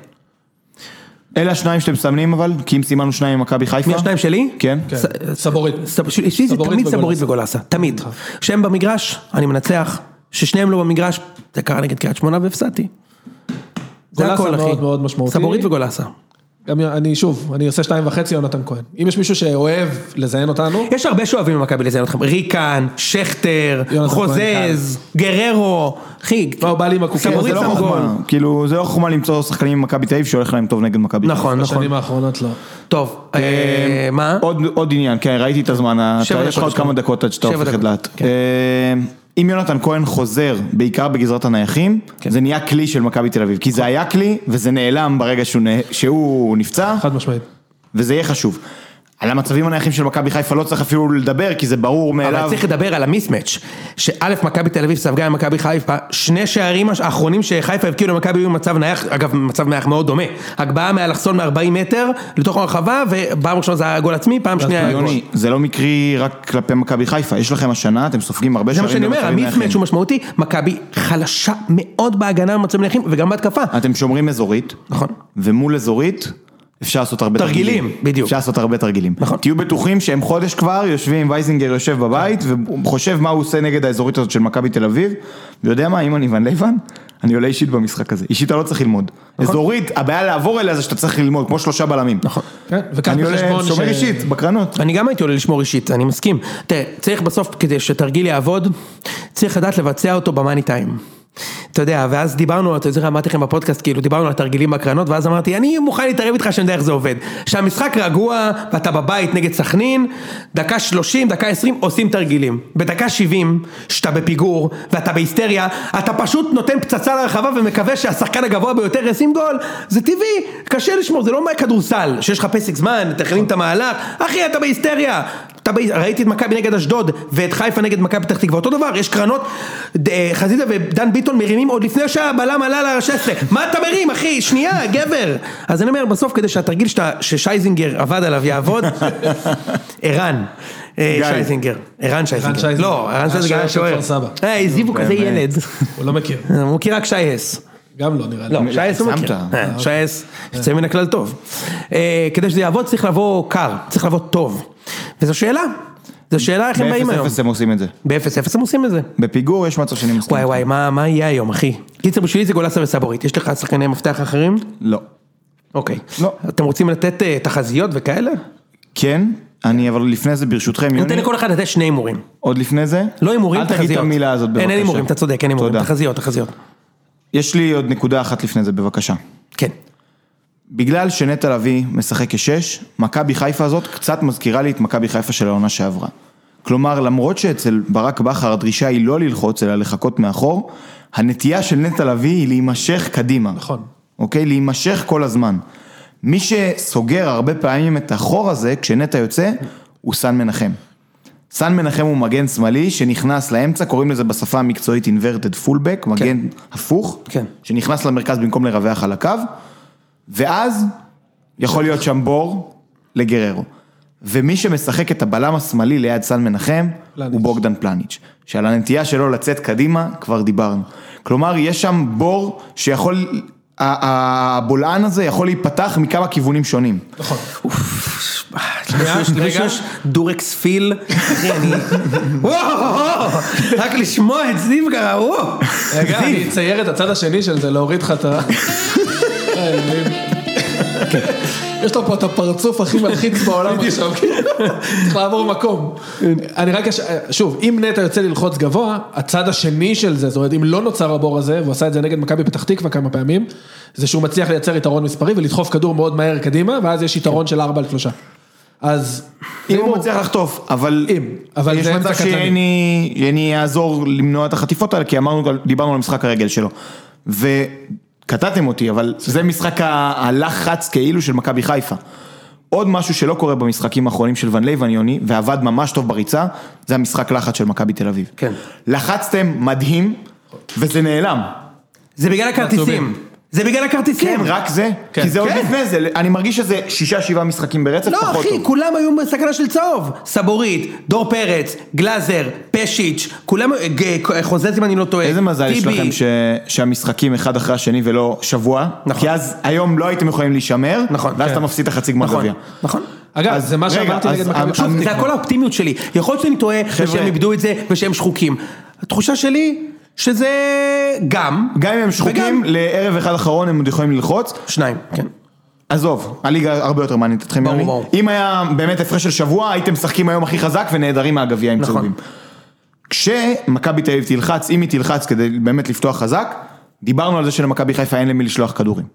Speaker 3: אלה השניים שאתם מסמנים אבל, כי אם סימנו שניים עם מכבי חיפה.
Speaker 1: מי השניים שלי?
Speaker 3: כן.
Speaker 2: כן,
Speaker 1: ס-
Speaker 2: סבורית.
Speaker 1: סב- ש- יש לי
Speaker 2: סבורית
Speaker 1: תמיד
Speaker 2: וגולסה.
Speaker 1: סבורית וגולסה, תמיד. כשהם במגרש, אני מנצח, כששניהם לא במגרש, זה קרה נגד קריית שמונה והפסדתי. זה
Speaker 2: גולסה
Speaker 1: הכל, אחי.
Speaker 2: מאוד מאוד משמעותי.
Speaker 1: סבורית וגולסה.
Speaker 2: גם אני, שוב, אני עושה שתיים וחצי יונתן כהן. אם יש מישהו שאוהב לזיין אותנו,
Speaker 1: יש הרבה שאוהבים במכבי לזיין אתכם, ריקן, שכטר,
Speaker 2: יונתן
Speaker 1: חוזז, גררו, אחי,
Speaker 2: מה, הוא בא לי עם הקוקייה,
Speaker 1: סבורית
Speaker 3: זה לא
Speaker 1: שם גול.
Speaker 3: חוכמה, כאילו, זה לא חוכמה למצוא שחקנים ממכבי תל אביב שהולך להם טוב נגד מכבי תל אביב.
Speaker 1: נכון, נכון.
Speaker 2: בשנים האחרונות לא.
Speaker 1: טוב, אה, מה?
Speaker 3: עוד, עוד עניין, כן, ראיתי את הזמן,
Speaker 1: שבע
Speaker 3: אתה, יש לך
Speaker 1: דקות
Speaker 3: עוד
Speaker 1: יש לנו.
Speaker 3: כמה דקות עד שאתה
Speaker 1: שבע
Speaker 3: הופך את
Speaker 1: דקות,
Speaker 3: לאט.
Speaker 1: כן.
Speaker 3: אה, אם יונתן כהן חוזר, בעיקר בגזרת הנייחים,
Speaker 1: כן.
Speaker 3: זה נהיה כלי של מכבי תל אביב, כי זה היה כלי, וזה נעלם ברגע שהוא נה- שהוא נפצע,
Speaker 2: חד משמעית.
Speaker 3: וזה יהיה חשוב. על המצבים הנייחים של מכבי חיפה לא צריך אפילו לדבר, כי זה ברור
Speaker 1: אבל
Speaker 3: מאליו.
Speaker 1: צריך לדבר על המיסמץ', שא' מכבי תל אביב ספגה ממכבי חיפה, שני שערים הש- האחרונים שחיפה הבקיעו למכבי היו במצב נייח, אגב מצב נייח מאוד דומה, הגבהה מאלכסון מ-40 מטר לתוך הרחבה, ופעם ראשונה זה היה גול עצמי, פעם שנייה היה גול.
Speaker 3: יוני, זה לא מקרי רק כלפי מכבי חיפה, יש לכם השנה, אתם סופגים הרבה
Speaker 1: זה מה שאני
Speaker 3: שערים
Speaker 1: אומר,
Speaker 3: במצבים נייחים.
Speaker 1: המיסמץ' הוא משמעותי, מכבי חלשה מאוד בהגנה במצבים נייחים וגם בהתקפה.
Speaker 3: אתם שומרים אזורית,
Speaker 1: נכון.
Speaker 3: ומול אזורית אפשר לעשות הרבה
Speaker 1: תרגילים,
Speaker 3: תרגילים.
Speaker 1: בדיוק.
Speaker 3: אפשר לעשות הרבה תרגילים.
Speaker 1: נכון.
Speaker 3: תהיו בטוחים שהם חודש כבר יושבים, וייזינגר יושב בבית,
Speaker 1: כן.
Speaker 3: וחושב מה הוא עושה נגד האזורית הזאת של מכבי תל אביב, ויודע מה, אם אני ון לייבן, אני עולה אישית במשחק הזה. אישית אתה לא צריך ללמוד. אזורית, הבעיה לעבור אליה זה שאתה צריך ללמוד, כמו שלושה בלמים.
Speaker 1: נכון.
Speaker 2: כן, וקח
Speaker 3: אני
Speaker 2: בחשבון
Speaker 3: עולה, שומר
Speaker 2: ש-
Speaker 3: אישית, בקרנות.
Speaker 1: אני גם הייתי עולה לשמור אישית, אני מסכים. תראה, צריך בסוף, כדי שתרגיל יעבוד, צריך לדעת לבצע אותו במאני טיים. אתה יודע, ואז דיברנו, אתה זוכר, אמרתי לכם בפודקאסט, כאילו דיברנו על תרגילים בקרנות, ואז אמרתי, אני מוכן להתערב איתך שאני יודע איך זה עובד. שהמשחק רגוע, ואתה בבית נגד סכנין, דקה 30, דקה 20, עושים תרגילים. בדקה 70, שאתה בפיגור, ואתה בהיסטריה, אתה פשוט נותן פצצה לרחבה ומקווה שהשחקן הגבוה ביותר ישים גול. זה טבעי, קשה לשמור, זה לא כדורסל, שיש לך פסק זמן, תכנין את המהלך, אחי, אתה בהיסטריה. אתה ב... ראיתי את מכבי נגד אשדוד, ואת חיפה נגד מכבי פתח תקווה, אותו דבר, יש קרנות, ד... אה, חזיזה ודן ביטון מרימים עוד לפני שהבלם עלה ל-16, מה אתה מרים, אחי, שנייה, גבר. אז אני אומר, בסוף, כדי שהתרגיל שאתה, ששייזינגר עבד עליו יעבוד, ערן. אה,
Speaker 3: גיא.
Speaker 1: שייזינגר, ערן שייזינגר,
Speaker 2: שייזינגר.
Speaker 1: לא, ערן שייזינגר היה
Speaker 2: השוער של
Speaker 1: שוער,
Speaker 2: כפר סבא.
Speaker 1: אה, הזיבו כזה
Speaker 3: לא, באמת.
Speaker 1: ילד,
Speaker 2: הוא לא מכיר.
Speaker 1: הוא מכיר רק שי הס,
Speaker 2: גם לא נראה לי.
Speaker 1: לא, שייס הוא מכיר.
Speaker 3: הגזמת.
Speaker 1: אה, שייס, יוצא מן הכלל טוב. אה, כדי שזה יעבוד צריך לבוא קר, צריך לבוא טוב. וזו שאלה, זו שאלה איך הם באים היום.
Speaker 3: ב-0-0 הם עושים את זה.
Speaker 1: באפס אפס הם עושים את זה.
Speaker 3: בפיגור יש מצב שאני מסכים.
Speaker 1: וואי וואי, מה מה יהיה היום אחי? קיצר בשבילי זה גולסה וסבורית, יש לך שחקני מפתח אחרים?
Speaker 3: לא.
Speaker 1: אוקיי.
Speaker 3: לא.
Speaker 1: אתם רוצים לתת אה, תחזיות וכאלה?
Speaker 3: כן, אני אבל לפני זה ברשותכם, יוני,
Speaker 1: נותן לכל אחד לתת שני הימורים.
Speaker 3: עוד לפני זה.
Speaker 1: לא הימורים,
Speaker 3: אל
Speaker 1: תחזיות.
Speaker 3: תגיד את המילה הזאת בבקשה.
Speaker 1: אין אין הימורים, אתה צודק, אין הימורים.
Speaker 3: תודה.
Speaker 1: תחזיות, תחזיות.
Speaker 3: יש לי עוד נקודה אחת לפני זה, בבקשה.
Speaker 1: כן.
Speaker 3: בגלל שנטע לביא משחק כשש, מכבי חיפה הזאת קצת מזכירה לי את מכבי חיפה של העונה שעברה. כלומר, למרות שאצל ברק בכר הדרישה היא לא ללחוץ, אלא לחכות מאחור, הנטייה של נטע לביא היא להימשך קדימה.
Speaker 2: נכון.
Speaker 3: אוקיי? להימשך כל הזמן. מי שסוגר הרבה פעמים את החור הזה, כשנטע יוצא, הוא סן מנחם. סן מנחם הוא מגן שמאלי שנכנס לאמצע, קוראים לזה בשפה המקצועית inverted fullback, מגן הפוך,
Speaker 1: כן.
Speaker 3: שנכנס למרכז במקום לרווח על הקו, ואז יכול להיות שם בור לגררו. ומי שמשחק את הבלם השמאלי ליד סן מנחם,
Speaker 2: פלניץ'.
Speaker 3: הוא בוגדן פלניץ', שעל הנטייה שלו לצאת קדימה כבר דיברנו. כלומר, יש שם בור שיכול, ה- ה- הבולען הזה יכול להיפתח מכמה כיוונים שונים.
Speaker 2: נכון.
Speaker 1: למישהו יש- למישהו
Speaker 2: רגע.
Speaker 1: יש דורקס פיל, אחי אני, וואו, רק לשמוע את זיו קרה, וואו,
Speaker 2: רגע,
Speaker 1: זיו.
Speaker 2: אני אצייר את הצד השני של זה, להוריד לך את ה... אה,
Speaker 3: כן.
Speaker 2: יש לו פה את הפרצוף הכי מלחיץ בעולם עכשיו, כאילו. צריך לעבור מקום. אני רק, אש- שוב, אם נטע יוצא ללחוץ גבוה, הצד השני של זה, זאת אומרת, אם לא נוצר הבור הזה, והוא עשה את זה נגד מכבי פתח תקווה כמה פעמים, זה שהוא מצליח לייצר יתרון מספרי ולדחוף כדור מאוד מהר קדימה, ואז יש יתרון של ארבע על שלושה. אז...
Speaker 3: אם כן. הוא מצליח לחטוף, אבל...
Speaker 2: אם, אבל
Speaker 3: יש
Speaker 2: זה
Speaker 3: מצב
Speaker 2: אמצע קטלני.
Speaker 3: שיני יני יעזור למנוע את החטיפות האלה, כי אמרנו, דיברנו על משחק הרגל שלו. וקטעתם אותי, אבל זה משחק ה- הלחץ כאילו של מכבי חיפה. עוד משהו שלא קורה במשחקים האחרונים של ון לייבן יוני, ועבד ממש טוב בריצה, זה המשחק לחץ של מכבי תל אביב.
Speaker 1: כן.
Speaker 3: לחצתם מדהים, וזה נעלם.
Speaker 1: זה בגלל הכרטיסים.
Speaker 2: עצובים.
Speaker 1: זה בגלל הכרטיסים.
Speaker 3: אה, כן, רק זה?
Speaker 2: כן.
Speaker 3: כי זה עוד
Speaker 1: כן.
Speaker 3: לפני זה, אני מרגיש שזה שישה, שבעה משחקים ברצף,
Speaker 1: לא
Speaker 3: פחות
Speaker 1: אחי,
Speaker 3: טוב.
Speaker 1: כולם היו בסכנה של צהוב. סבורית, דור פרץ, גלאזר, פשיץ', כולם, אה, ג- חוזז אם אני לא טועה.
Speaker 3: איזה מזל יש
Speaker 1: טיבי.
Speaker 3: לכם ש... שהמשחקים אחד אחרי השני ולא שבוע,
Speaker 1: נכון.
Speaker 3: כי אז היום לא הייתם יכולים להישמר,
Speaker 1: נכון,
Speaker 3: ואז
Speaker 1: כן.
Speaker 3: אתה מפסיד את החצי גמר
Speaker 1: נכון,
Speaker 3: גביע.
Speaker 1: נכון.
Speaker 2: אגב,
Speaker 3: אז
Speaker 2: זה מה
Speaker 3: רגע,
Speaker 2: שאמרתי
Speaker 3: אז אמ-
Speaker 2: נגד מכבי
Speaker 3: המ-
Speaker 2: פתח
Speaker 3: המ-
Speaker 2: תקווה.
Speaker 1: זה הכל האופטימיות שלי. יכול להיות שאני טועה, ושהם איבדו את זה, ושהם שחוקים. התחושה שלי, שזה גם.
Speaker 3: גם אם הם שחוקים,
Speaker 1: וגם-
Speaker 3: לערב אחד אחרון הם עוד יכולים ללחוץ,
Speaker 1: שניים, כן.
Speaker 3: עזוב, הליגה הרבה יותר מעניינת אתכם,
Speaker 1: ברור,
Speaker 3: יוני.
Speaker 1: ברור.
Speaker 3: אם היה באמת הפרש של שבוע, הייתם משחקים היום הכי חזק ונעדרים מהגביע עם צהובים. כשמכבי תל אביב תלחץ, אם היא תלחץ כדי באמת לפתוח חזק, דיברנו על זה שלמכבי חיפה אין למי לשלוח כדורים.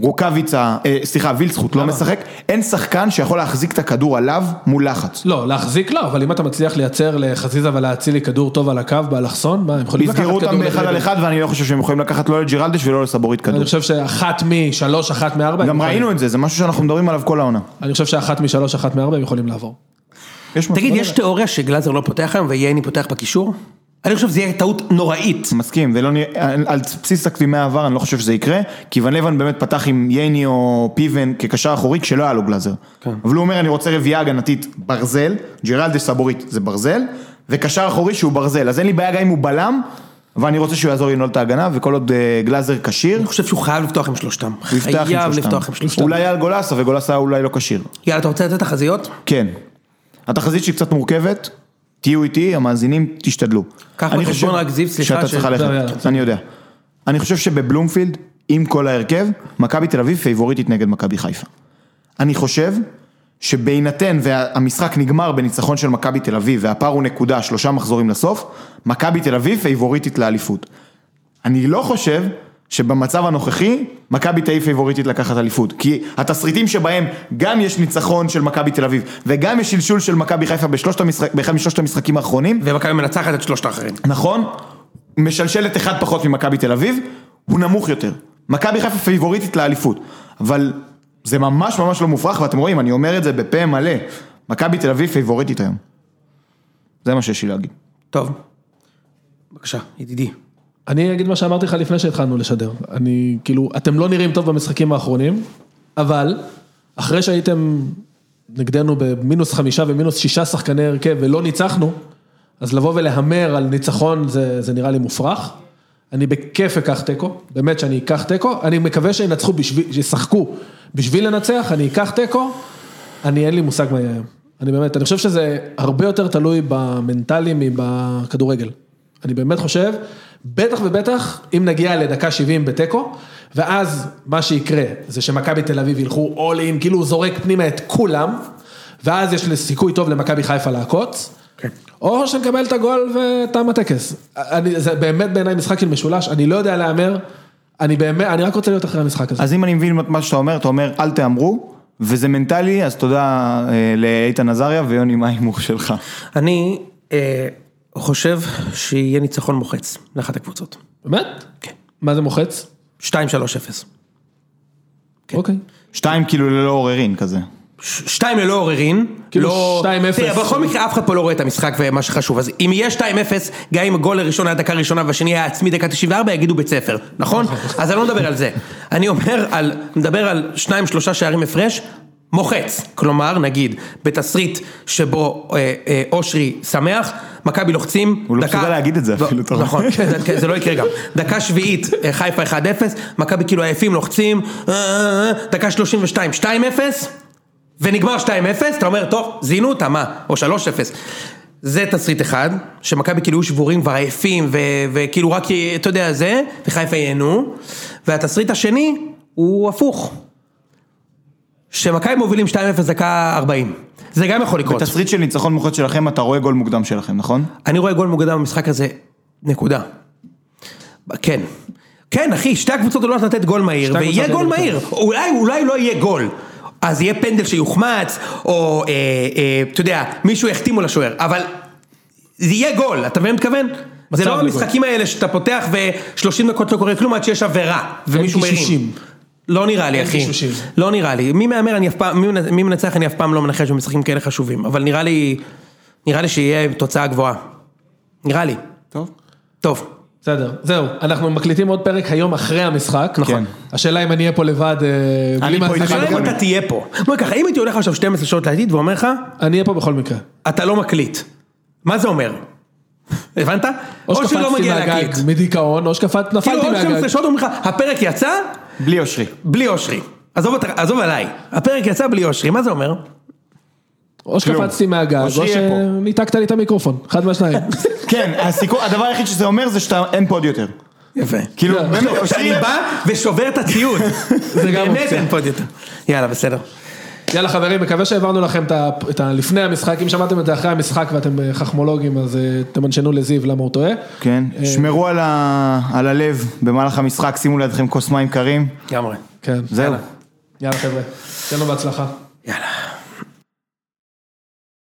Speaker 3: רוקאביצה, אה, סליחה, וילצחוט לא משחק, אין שחקן שיכול להחזיק את הכדור עליו מול לחץ.
Speaker 2: לא, להחזיק לא, אבל אם אתה מצליח לייצר לחזיזה ולהצילי כדור טוב על הקו, באלכסון, מה, הם יכולים לקחת
Speaker 3: יסגרו
Speaker 2: כדור
Speaker 3: אותם באחד
Speaker 2: לדריבל.
Speaker 3: על אחד ואני לא חושב שהם יכולים לקחת לא לג'ירלדש ולא לסבורית כדור.
Speaker 2: אני חושב לא. שאחת משלוש, אחת מארבע, הם
Speaker 3: גם
Speaker 2: יכולים.
Speaker 3: ראינו את זה, זה משהו שאנחנו מדברים עליו כל העונה.
Speaker 2: אני חושב שאחת משלוש, אחת מארבע, הם יכולים לעבור.
Speaker 3: יש
Speaker 1: תגיד,
Speaker 3: מצב.
Speaker 1: יש תיאוריה שגלאזר לא פותח היום וייני פותח בקישור? אני חושב שזה יהיה טעות נוראית.
Speaker 3: מסכים, ולא נראה, על- על בסיס תקדימי העבר אני לא חושב שזה יקרה, כי ון לבן באמת פתח עם ייני או פיבן כקשר אחורי כשלא היה לו גלאזר.
Speaker 1: כן.
Speaker 3: אבל הוא אומר אני רוצה רביעייה הגנתית ברזל, ג'רלדש סבורית זה ברזל, וקשר אחורי שהוא ברזל, אז אין לי בעיה גם אם הוא בלם, אבל אני רוצה שהוא יעזור לנעול את ההגנה, וכל עוד אה, גלאזר כשיר,
Speaker 1: אני חושב שהוא חייב לפתוח עם שלושתם.
Speaker 3: הוא יפתח עם
Speaker 1: חייב
Speaker 3: שלושתם.
Speaker 1: לפתוח עם שלושתם.
Speaker 3: אולי על גולסה, וגולסה אולי לא כשיר.
Speaker 1: יאללה, אתה רוצה לתת תחזיות?
Speaker 3: כן. התחזית שהיא קצת מורכבת, תהיו איתי, המאזינים, תשתדלו.
Speaker 1: קח
Speaker 3: אני
Speaker 1: בחשבון
Speaker 3: חושב
Speaker 1: רק זיו, סליחה,
Speaker 3: שאתה
Speaker 1: ש-
Speaker 3: צריך
Speaker 2: לא, יאללה,
Speaker 3: ללכת,
Speaker 2: בסדר.
Speaker 3: אני יודע. אני חושב שבבלומפילד, עם כל ההרכב, מכבי תל אביב פייבוריטית נגד מכבי חיפה. אני חושב שבהינתן והמשחק נגמר בניצחון של מכבי תל אביב והפער הוא נקודה, שלושה מחזורים לסוף, מכבי תל אביב פייבוריטית לאליפות. אני לא חושב שבמצב הנוכחי, מכבי תל אביב פייבוריטית לקחת אליפות. כי התסריטים שבהם גם יש ניצחון של מכבי תל אביב, וגם יש שלשול של מכבי חיפה בשלושת המשחק, באחד משלושת המשחקים האחרונים,
Speaker 1: ומכבי מנצחת את שלושת האחרים.
Speaker 3: נכון? משלשלת אחד פחות ממכבי תל אביב, הוא נמוך יותר. מכבי חיפה פייבוריטית לאליפות. אבל זה ממש ממש לא מופרך, ואתם רואים, אני אומר את זה בפה מלא. מכבי תל אביב פייבוריטית היום. זה מה שיש לי להגיד.
Speaker 1: טוב. בבקשה, ידידי.
Speaker 2: אני אגיד מה שאמרתי לך לפני שהתחלנו לשדר. אני, כאילו, אתם לא נראים טוב במשחקים האחרונים, אבל אחרי שהייתם נגדנו במינוס חמישה ומינוס שישה שחקני הרכב ולא ניצחנו, אז לבוא ולהמר על ניצחון זה, זה נראה לי מופרך. אני בכיף אקח תיקו, באמת שאני אקח תיקו, אני מקווה שינצחו בשביל, שישחקו בשביל לנצח, אני אקח תיקו, אני אין לי מושג מה יהיה היום. אני באמת, אני חושב שזה הרבה יותר תלוי במנטלי מבכדורגל. אני באמת חושב, בטח ובטח, אם נגיע לדקה 70 בתיקו, ואז מה שיקרה זה שמכבי תל אביב ילכו אול אין, כאילו הוא זורק פנימה את כולם, ואז יש סיכוי טוב למכבי חיפה לעקוץ.
Speaker 1: כן.
Speaker 2: או שנקבל את הגול ותם הטקס. אני, זה באמת בעיניי משחק של משולש, אני לא יודע להמר, אני באמת, אני רק רוצה להיות אחרי המשחק הזה.
Speaker 3: אז אם אני מבין את מה שאתה אומר, אתה אומר אל תהמרו, וזה מנטלי, אז תודה אה, לאיתן עזריה ויוני, מה ההימור שלך?
Speaker 1: אני אה, חושב שיהיה ניצחון מוחץ לאחת הקבוצות.
Speaker 2: באמת?
Speaker 1: כן.
Speaker 2: מה זה מוחץ?
Speaker 1: 2-3-0. כן.
Speaker 2: אוקיי.
Speaker 3: שתיים כאילו ללא עוררין כזה.
Speaker 1: ש- שתיים ללא עוררין.
Speaker 2: כאילו
Speaker 1: לא-
Speaker 2: 2-0.
Speaker 1: תראה, בכל מקרה אף אחד פה לא רואה את המשחק ומה שחשוב. אז אם יהיה 2-0, גם אם הגול הראשון היה דקה ראשונה והשני היה עצמי דקה 94, יגידו בית ספר, נכון? אז אני לא מדבר על זה. אני אומר על, מדבר על שניים שלושה שערים הפרש. מוחץ, כלומר נגיד בתסריט שבו אה, אה, אושרי שמח, מכבי לוחצים,
Speaker 3: הוא לא
Speaker 1: דקה-
Speaker 3: מסוגל להגיד את זה
Speaker 1: ו-
Speaker 3: אפילו, אתה רואה.
Speaker 1: נכון, כן, כן, זה לא יקרה גם. דקה שביעית, אה, חיפה 1-0, מכבי כאילו עייפים, לוחצים, אה, אה, אה, דקה 32, 2-0, ונגמר 2-0, אתה אומר, טוב, זינו אותה, מה? או 3-0. זה תסריט אחד, שמכבי כאילו היו שבורים כבר עייפים, ו- וכאילו רק, אתה יודע, זה, וחיפה ייהנו. והתסריט השני הוא הפוך. שמכבי מובילים 2-0 דקה 40. זה גם יכול לקרות.
Speaker 3: בתסריט של ניצחון מוחץ שלכם, אתה רואה גול מוקדם שלכם, נכון?
Speaker 1: אני רואה גול מוקדם במשחק הזה, נקודה. כן. כן, אחי, שתי הקבוצות עלולות לתת גול מהיר,
Speaker 2: שתי
Speaker 1: ויהיה
Speaker 2: הקבוצות
Speaker 1: גול
Speaker 2: עלולות
Speaker 1: מהיר. אולי, אולי לא יהיה גול. אז יהיה פנדל שיוחמץ, או, אה, אה, אתה יודע, מישהו יחתים על השוער, אבל זה יהיה גול, אתה מבין מה אני מתכוון? זה לא
Speaker 2: לגול.
Speaker 1: המשחקים האלה שאתה פותח ו-30 דקות לא קורה כלום עד שיש עבירה, ומישהו מרים.
Speaker 2: גישושים.
Speaker 1: לא נראה לי,
Speaker 2: אין
Speaker 1: אחי.
Speaker 2: גישושים.
Speaker 1: לא נראה לי. מי מהמר אני אף פעם, מי מנ- מי מנצח אני אף פעם לא מנחש במשחקים כאלה חשובים, אבל נראה לי, נראה לי שיהיה תוצאה גבוהה. נראה לי.
Speaker 3: טוב.
Speaker 1: טוב.
Speaker 2: בסדר, זהו, אנחנו מקליטים עוד פרק היום אחרי המשחק. כן.
Speaker 1: נכון.
Speaker 2: השאלה אם אני אהיה פה לבד, אה,
Speaker 3: פה
Speaker 2: בלי מאזינים.
Speaker 3: איתך.
Speaker 1: השאלה אם אתה תהיה פה. אומר ככה, אם הייתי הולך עכשיו 12 שעות לעתיד ואומר לך,
Speaker 2: אני אהיה פה בכל מקרה.
Speaker 1: אתה לא מקליט. מה זה אומר? הבנת?
Speaker 2: או
Speaker 1: שהוא לא
Speaker 2: שקפצתי
Speaker 1: מגיע
Speaker 2: מהגג
Speaker 1: להקליט.
Speaker 2: מדיכאון, או שקפצתי,
Speaker 1: כאילו
Speaker 2: נפלתי
Speaker 1: עוד 12
Speaker 2: מהגג.
Speaker 1: שעות אומרים לך, הפרק יצא
Speaker 3: בלי אושרי.
Speaker 1: בלי אושרי. עזוב אותך- עזוב עליי. הפרק יצא בלי אושרי, מה זה אומר?
Speaker 2: או שקפצתי
Speaker 3: כלום.
Speaker 2: מהגג,
Speaker 3: או
Speaker 2: או
Speaker 3: שיהיה פה.
Speaker 2: שניתקת לי את המיקרופון, אחד מהשניים.
Speaker 3: כן, הסיכו- הדבר היחיד שזה אומר זה שאתה אין פוד יותר.
Speaker 1: יפה.
Speaker 3: כאילו, באמת,
Speaker 1: שאני לא, בא ושובר את הציוד.
Speaker 2: לא, זה גם
Speaker 1: באמת
Speaker 2: אופציה.
Speaker 1: אין פה עוד יותר. יאללה, בסדר.
Speaker 2: יאללה חברים, מקווה שהעברנו לכם את ה- את ה... לפני המשחק, אם שמעתם את זה אחרי המשחק ואתם אה, חכמולוגים, אז אה, תמנשנו לזיו למה הוא טועה.
Speaker 3: כן, שמרו על ה- על הלב במהלך המשחק, שימו לידכם כוס מים קרים,
Speaker 1: לגמרי.
Speaker 2: כן.
Speaker 3: זהו.
Speaker 2: יאללה חבר'ה, תן לו בהצלחה.